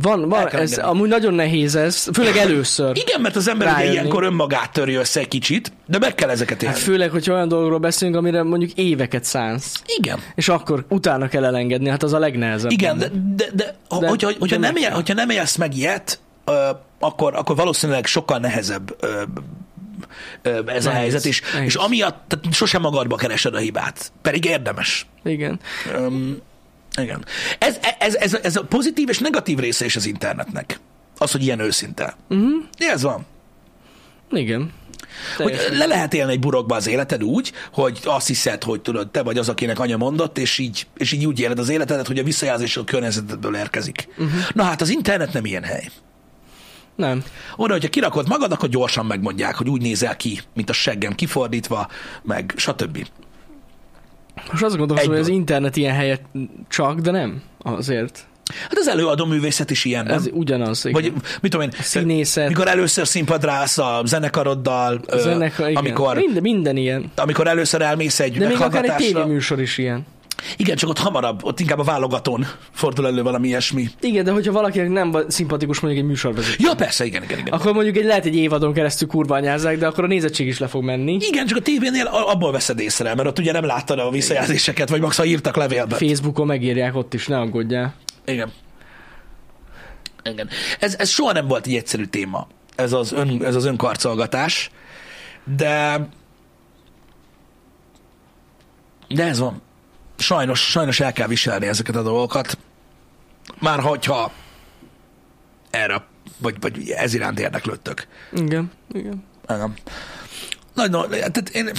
Van,
El
van
kell
ez,
engedni.
amúgy nagyon nehéz ez, főleg először.
Igen, mert az ember ugye
Rájönni.
ilyenkor önmagát törje össze egy kicsit, de meg kell ezeket élni.
Hát főleg, hogy olyan dologról beszélünk, amire mondjuk éveket szánsz.
Igen.
És akkor utána kell elengedni, hát az a legnehezebb.
Igen, de, de, de, de
De-
hogyha, hogyha,
de
nem
meg
él,
kell.
hogyha nem élsz meg ilyet, ö, akkor, akkor valószínűleg sokkal nehezebb ö, ö, ez a
Nehéz,
helyzet, és,
nehéz.
és amiatt tehát sosem magadba keresed a hibát, pedig érdemes.
Igen.
Öm, igen. Ez, ez, ez, ez a pozitív és negatív része is az internetnek. Az, hogy ilyen őszinte.
Mhm.
Uh-huh. Ez van.
Igen.
Hogy
Teljesen.
le lehet élni egy burokba az életed úgy, hogy azt hiszed, hogy tudod, te vagy az, akinek anya mondott, és így, és így úgy éled az életedet, hogy a visszajelzés a környezetedből érkezik.
Mhm.
Uh-huh. Na hát az internet nem ilyen hely.
Nem.
Oda, hogyha kirakod magad, akkor gyorsan megmondják, hogy úgy nézel ki, mint a seggem kifordítva, meg stb.
Most azt gondolom, hogy
Egy
az internet ilyen helyet csak, de nem azért.
Hát az előadó művészet is ilyen, nem?
Ez ugyanaz. Igen.
Vagy mit tudom én,
a színészet,
mikor először színpadra állsz a zenekaroddal,
a
ö,
zenekar, igen.
amikor,
Minden, minden ilyen.
amikor először elmész egy
De még akár egy
meghallgatásra.
tévéműsor is ilyen.
Igen, csak ott hamarabb, ott inkább a válogatón fordul elő valami ilyesmi.
Igen, de hogyha valakinek nem va- szimpatikus mondjuk egy műsorvezető,
Ja, persze, igen, igen, igen.
akkor mondjuk egy, lehet egy évadon keresztül kurványázzák, de akkor a nézettség is le fog menni.
Igen, csak a tévénél a- abból veszed észre, mert ott ugye nem láttad a visszajelzéseket, vagy max, ha írtak levélben.
Facebookon megírják ott is, ne aggódjál.
Igen. Igen. Ez, ez soha nem volt egy egyszerű téma, ez az, ön, ez az önkarcolgatás, de de ez van. Sajnos, sajnos el kell viselni ezeket a dolgokat. Már hogyha erre, vagy, vagy ez iránt érdeklődtök.
Igen, igen.
Igen. Nagy, nagy, tehát én...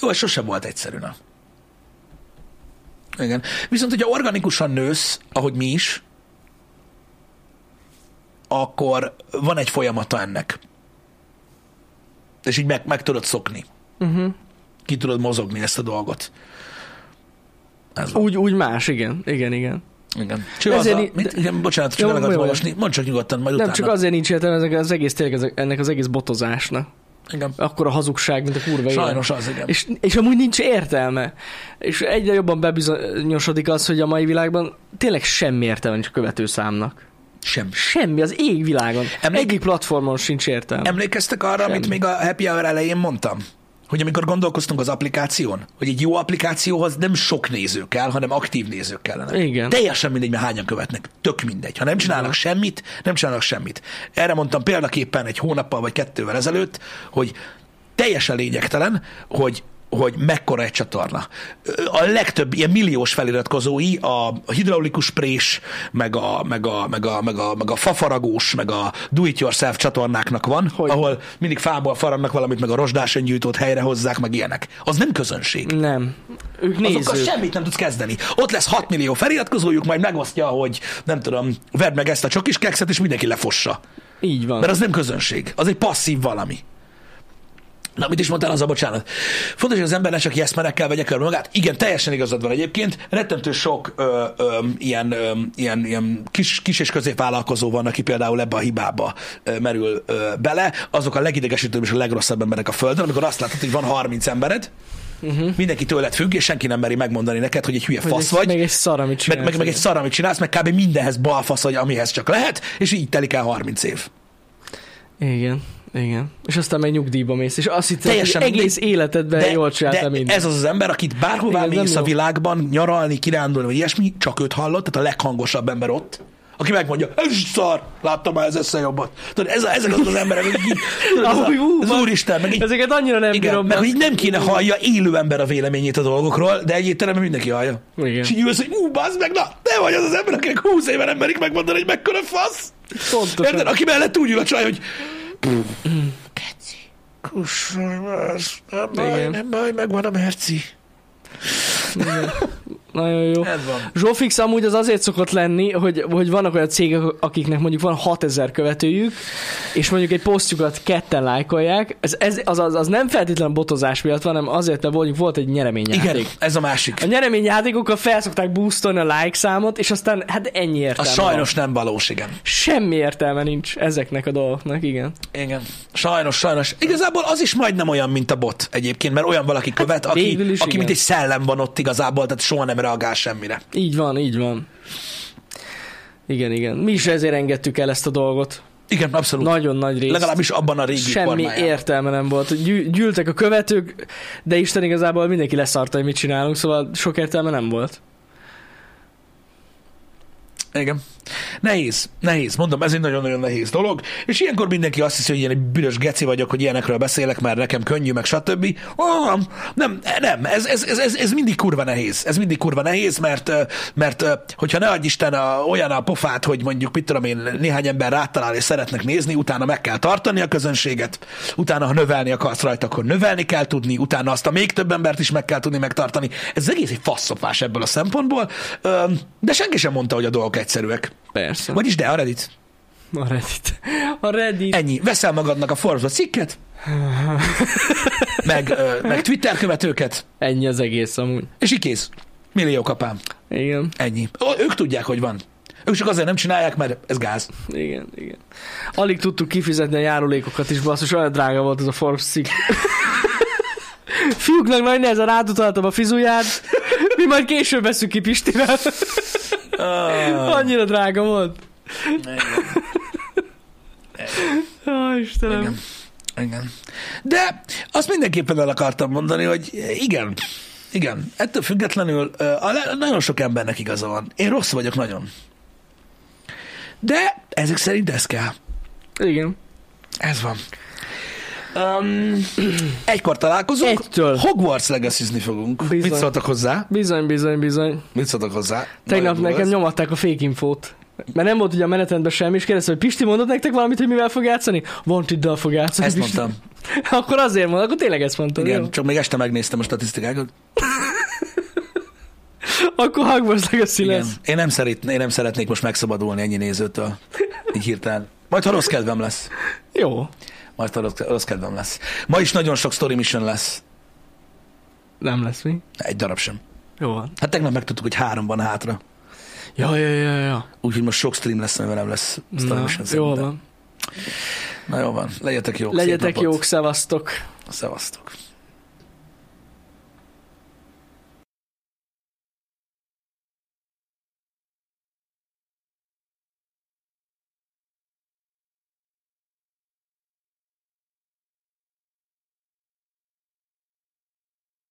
Jó, ez sosem volt egyszerű, na. Igen. Viszont, hogyha organikusan nősz, ahogy mi is, akkor van egy folyamata ennek. És így meg, meg tudod szokni.
Uh-huh.
Ki tudod mozogni ezt a dolgot. Ez van.
Úgy, úgy más, igen, igen, igen.
Igen. Cső az
Ezért
a,
i-
mit?
de-
Igen, bocsánat, csak
Jó,
nem akartam
jó, jó.
olvasni. Mondd csak nyugodtan, majd
Nem
utána.
csak azért nincs értelme ezek az egész, tényleg ezek- ennek az egész botozásnak.
Igen.
Akkor a hazugság, mint a kurva élet.
Sajnos az, igen.
És, és amúgy nincs értelme. És egyre jobban bebizonyosodik az, hogy a mai világban tényleg semmi értelme nincs a követő számnak.
Sem.
Semmi az égvilágon.
Emlék-
Egyik platformon sincs értelme.
Emlékeztek arra, amit még a Happy Hour elején mondtam? Hogy amikor gondolkoztunk az applikáción, hogy egy jó applikációhoz nem sok néző kell, hanem aktív nézők kellene.
Igen.
Teljesen mindegy, mert hányan követnek. Tök mindegy. Ha nem csinálnak semmit, nem csinálnak semmit. Erre mondtam példaképpen egy hónappal vagy kettővel ezelőtt, hogy teljesen lényegtelen, hogy hogy mekkora egy csatorna. Ö, A legtöbb ilyen milliós feliratkozói, a hidraulikus prés, meg a, meg a, meg a, meg a, meg a fafaragós, meg a do-it-yourself csatornáknak van, hogy?
Hogy?
ahol mindig fából farannak valamit, meg a rozsdás öngyújtót helyre hozzák, meg ilyenek. Az nem közönség.
Nem. Ők
Azokkal
nézők.
semmit nem tudsz kezdeni. Ott lesz 6 millió feliratkozójuk, majd megosztja, hogy nem tudom, vedd meg ezt a csokis kekszet, és mindenki lefossa.
Így van.
Mert az nem közönség, az egy passzív valami. Na, mit is mondtál az a bocsánat? Fontos, hogy az ember ne csak jeszmerekkel vegye körbe magát. Igen, teljesen igazad van egyébként. Rettentő sok ö, ö, ilyen, ö, ilyen, ilyen kis, kis és középvállalkozó van, aki például ebbe a hibába ö, merül ö, bele. Azok a legidegesítőbb és a legrosszabb emberek a Földön, amikor azt látod, hogy van 30 embered, uh-huh. mindenki tőled függ, és senki nem meri megmondani neked, hogy egy hülye
Mhm. Hogy
fasz
egy-
vagy
Meg egy szar, amit
meg,
csinálsz.
meg, meg egy szar, amit csinálsz, meg kb. mindenhez balfasz vagy, amihez csak lehet, és így telik el 30 év.
Igen, igen. És aztán meg nyugdíjba mész, és azt hittem, hogy
Teljesen
egész életedben de, jól
de
csináltam mindent.
ez az az ember, akit bárhová
Igen,
Igen,
nem
mész a
jó.
világban, nyaralni, kirándulni, vagy ilyesmi, csak őt hallott, tehát a leghangosabb ember ott, aki megmondja, ez is szar, láttam már ez össze jobbat. Tudod, ez, a- ezek azok az emberek, akik így, tudod, ez,
Ahogy, hú,
a, az
van.
úristen, meg így,
Ezeket annyira nem
igen,
bírom.
mert
be.
így nem kéne hallja élő ember a véleményét a dolgokról, de egy étteremben mindenki hallja.
Igen.
És így ülsz, hogy ú, bazd meg, na, te vagy az az ember, akinek 20 éve nem merik megmondani, hogy mekkora fasz.
Pontosan.
Érted? Aki mellett úgy ül a csaj, hogy Keci. Kussolj más. Nem baj,
Igen.
nem baj, megvan a merci.
Nagyon jó.
Ez van.
Zsófix amúgy az azért szokott lenni, hogy, hogy vannak olyan cégek, akiknek mondjuk van 6000 követőjük, és mondjuk egy posztjukat ketten lájkolják. Ez, ez az, az, az, nem feltétlenül botozás miatt, van, hanem azért, mert mondjuk volt egy nyereményjáték.
Igen, ez a másik.
A nyereményjátékokkal felszokták boostolni a like számot, és aztán hát ennyi
A
értelme van.
sajnos nem valós, igen.
Semmi értelme nincs ezeknek a dolgoknak, igen.
Igen. Sajnos, sajnos. Igazából az is majdnem olyan, mint a bot egyébként, mert olyan valaki követ,
Hát végül
aki,
is
aki
igen.
mint egy szellem van ott igazából, tehát soha nem reagál semmire.
Így van, így van. Igen, igen. Mi is ezért engedtük el ezt a dolgot.
Igen, abszolút.
Nagyon nagy részt.
Legalábbis abban a régi
Semmi
formájában.
értelme nem volt. Gyű, gyűltek a követők, de Isten igazából mindenki leszarta, hogy mit csinálunk, szóval sok értelme nem volt.
Igen. Nehéz, nehéz, mondom, ez egy nagyon-nagyon nehéz dolog, és ilyenkor mindenki azt hiszi, hogy én egy bűnös geci vagyok, hogy ilyenekről beszélek, mert nekem könnyű, meg stb. Ó, Nem, nem, nem ez, ez, ez, ez, ez mindig kurva nehéz, ez mindig kurva nehéz, mert, ö, mert ö, hogyha ne adj Isten a, olyan a pofát, hogy mondjuk, mit tudom én, néhány ember rátalál és szeretnek nézni, utána meg kell tartani a közönséget, utána, ha növelni akarsz rajta, akkor növelni kell tudni, utána azt a még több embert is meg kell tudni megtartani. Ez egész egy faszopás ebből a szempontból, Ö, de senki sem mondta, hogy a dolgok egyszerűek.
Persze.
Vagyis de, a Reddit.
A Reddit. A Reddit.
Ennyi. Veszel magadnak a Forbes-ba cikket, meg, ö, meg Twitter követőket,
Ennyi az egész amúgy.
és így kész. Millió kapám.
Igen,
Ennyi. Ö, ők tudják, hogy van. Ők csak azért nem csinálják, mert ez gáz.
igen, igen. Alig tudtuk kifizetni a járulékokat is, basszus, olyan drága volt az a Forbes cikk. Fiúknak nagy nehezen átutaltam a fizuját, mi majd később veszünk ki Pistivel.
Ah,
Annyira drága volt.
igen.
Á, Istenem.
Igen. Igen. De azt mindenképpen el akartam mondani, hogy igen, igen, ettől függetlenül ö, a le- nagyon sok embernek igaza van. Én rossz vagyok nagyon. De ezek szerint ez kell.
Igen.
Ez van. Um, egykor találkozunk.
Egytől.
Hogwarts legacy fogunk.
Bizony.
Mit szóltak hozzá?
Bizony, bizony, bizony.
Mit szóltak hozzá?
Tegnap
Nagyon jó
nekem
lesz.
nyomadták a fake infót. Mert nem volt ugye a menetendben semmi, és kérdezte, hogy Pisti mondott nektek valamit, hogy mivel fog játszani? Wanted-dal fog játszani.
Ezt
Pisti.
mondtam.
Akkor azért mondom, akkor tényleg ezt mondtad.
Igen,
jó?
csak még este megnéztem a statisztikákat.
Akkor Hogwarts Legacy
Igen.
lesz.
Én nem, szeret, én nem szeretnék most megszabadulni ennyi nézőtől. Így hirtelen. Majd ha rossz kedvem lesz.
Jó.
Majd ha rossz, rossz kedvem lesz. Ma is nagyon sok story mission lesz.
Nem lesz mi.
Egy darab sem.
Jó van.
Hát tegnap megtudtuk, hogy három van hátra.
Ja, ja, ja, ja.
Úgyhogy most sok stream lesz, amivel nem lesz story
Na,
mission
jó
szerintem.
van.
Na jó van. Legyetek jók. szép
Legyetek
napot.
jók, szevasztok.
Szevasztok.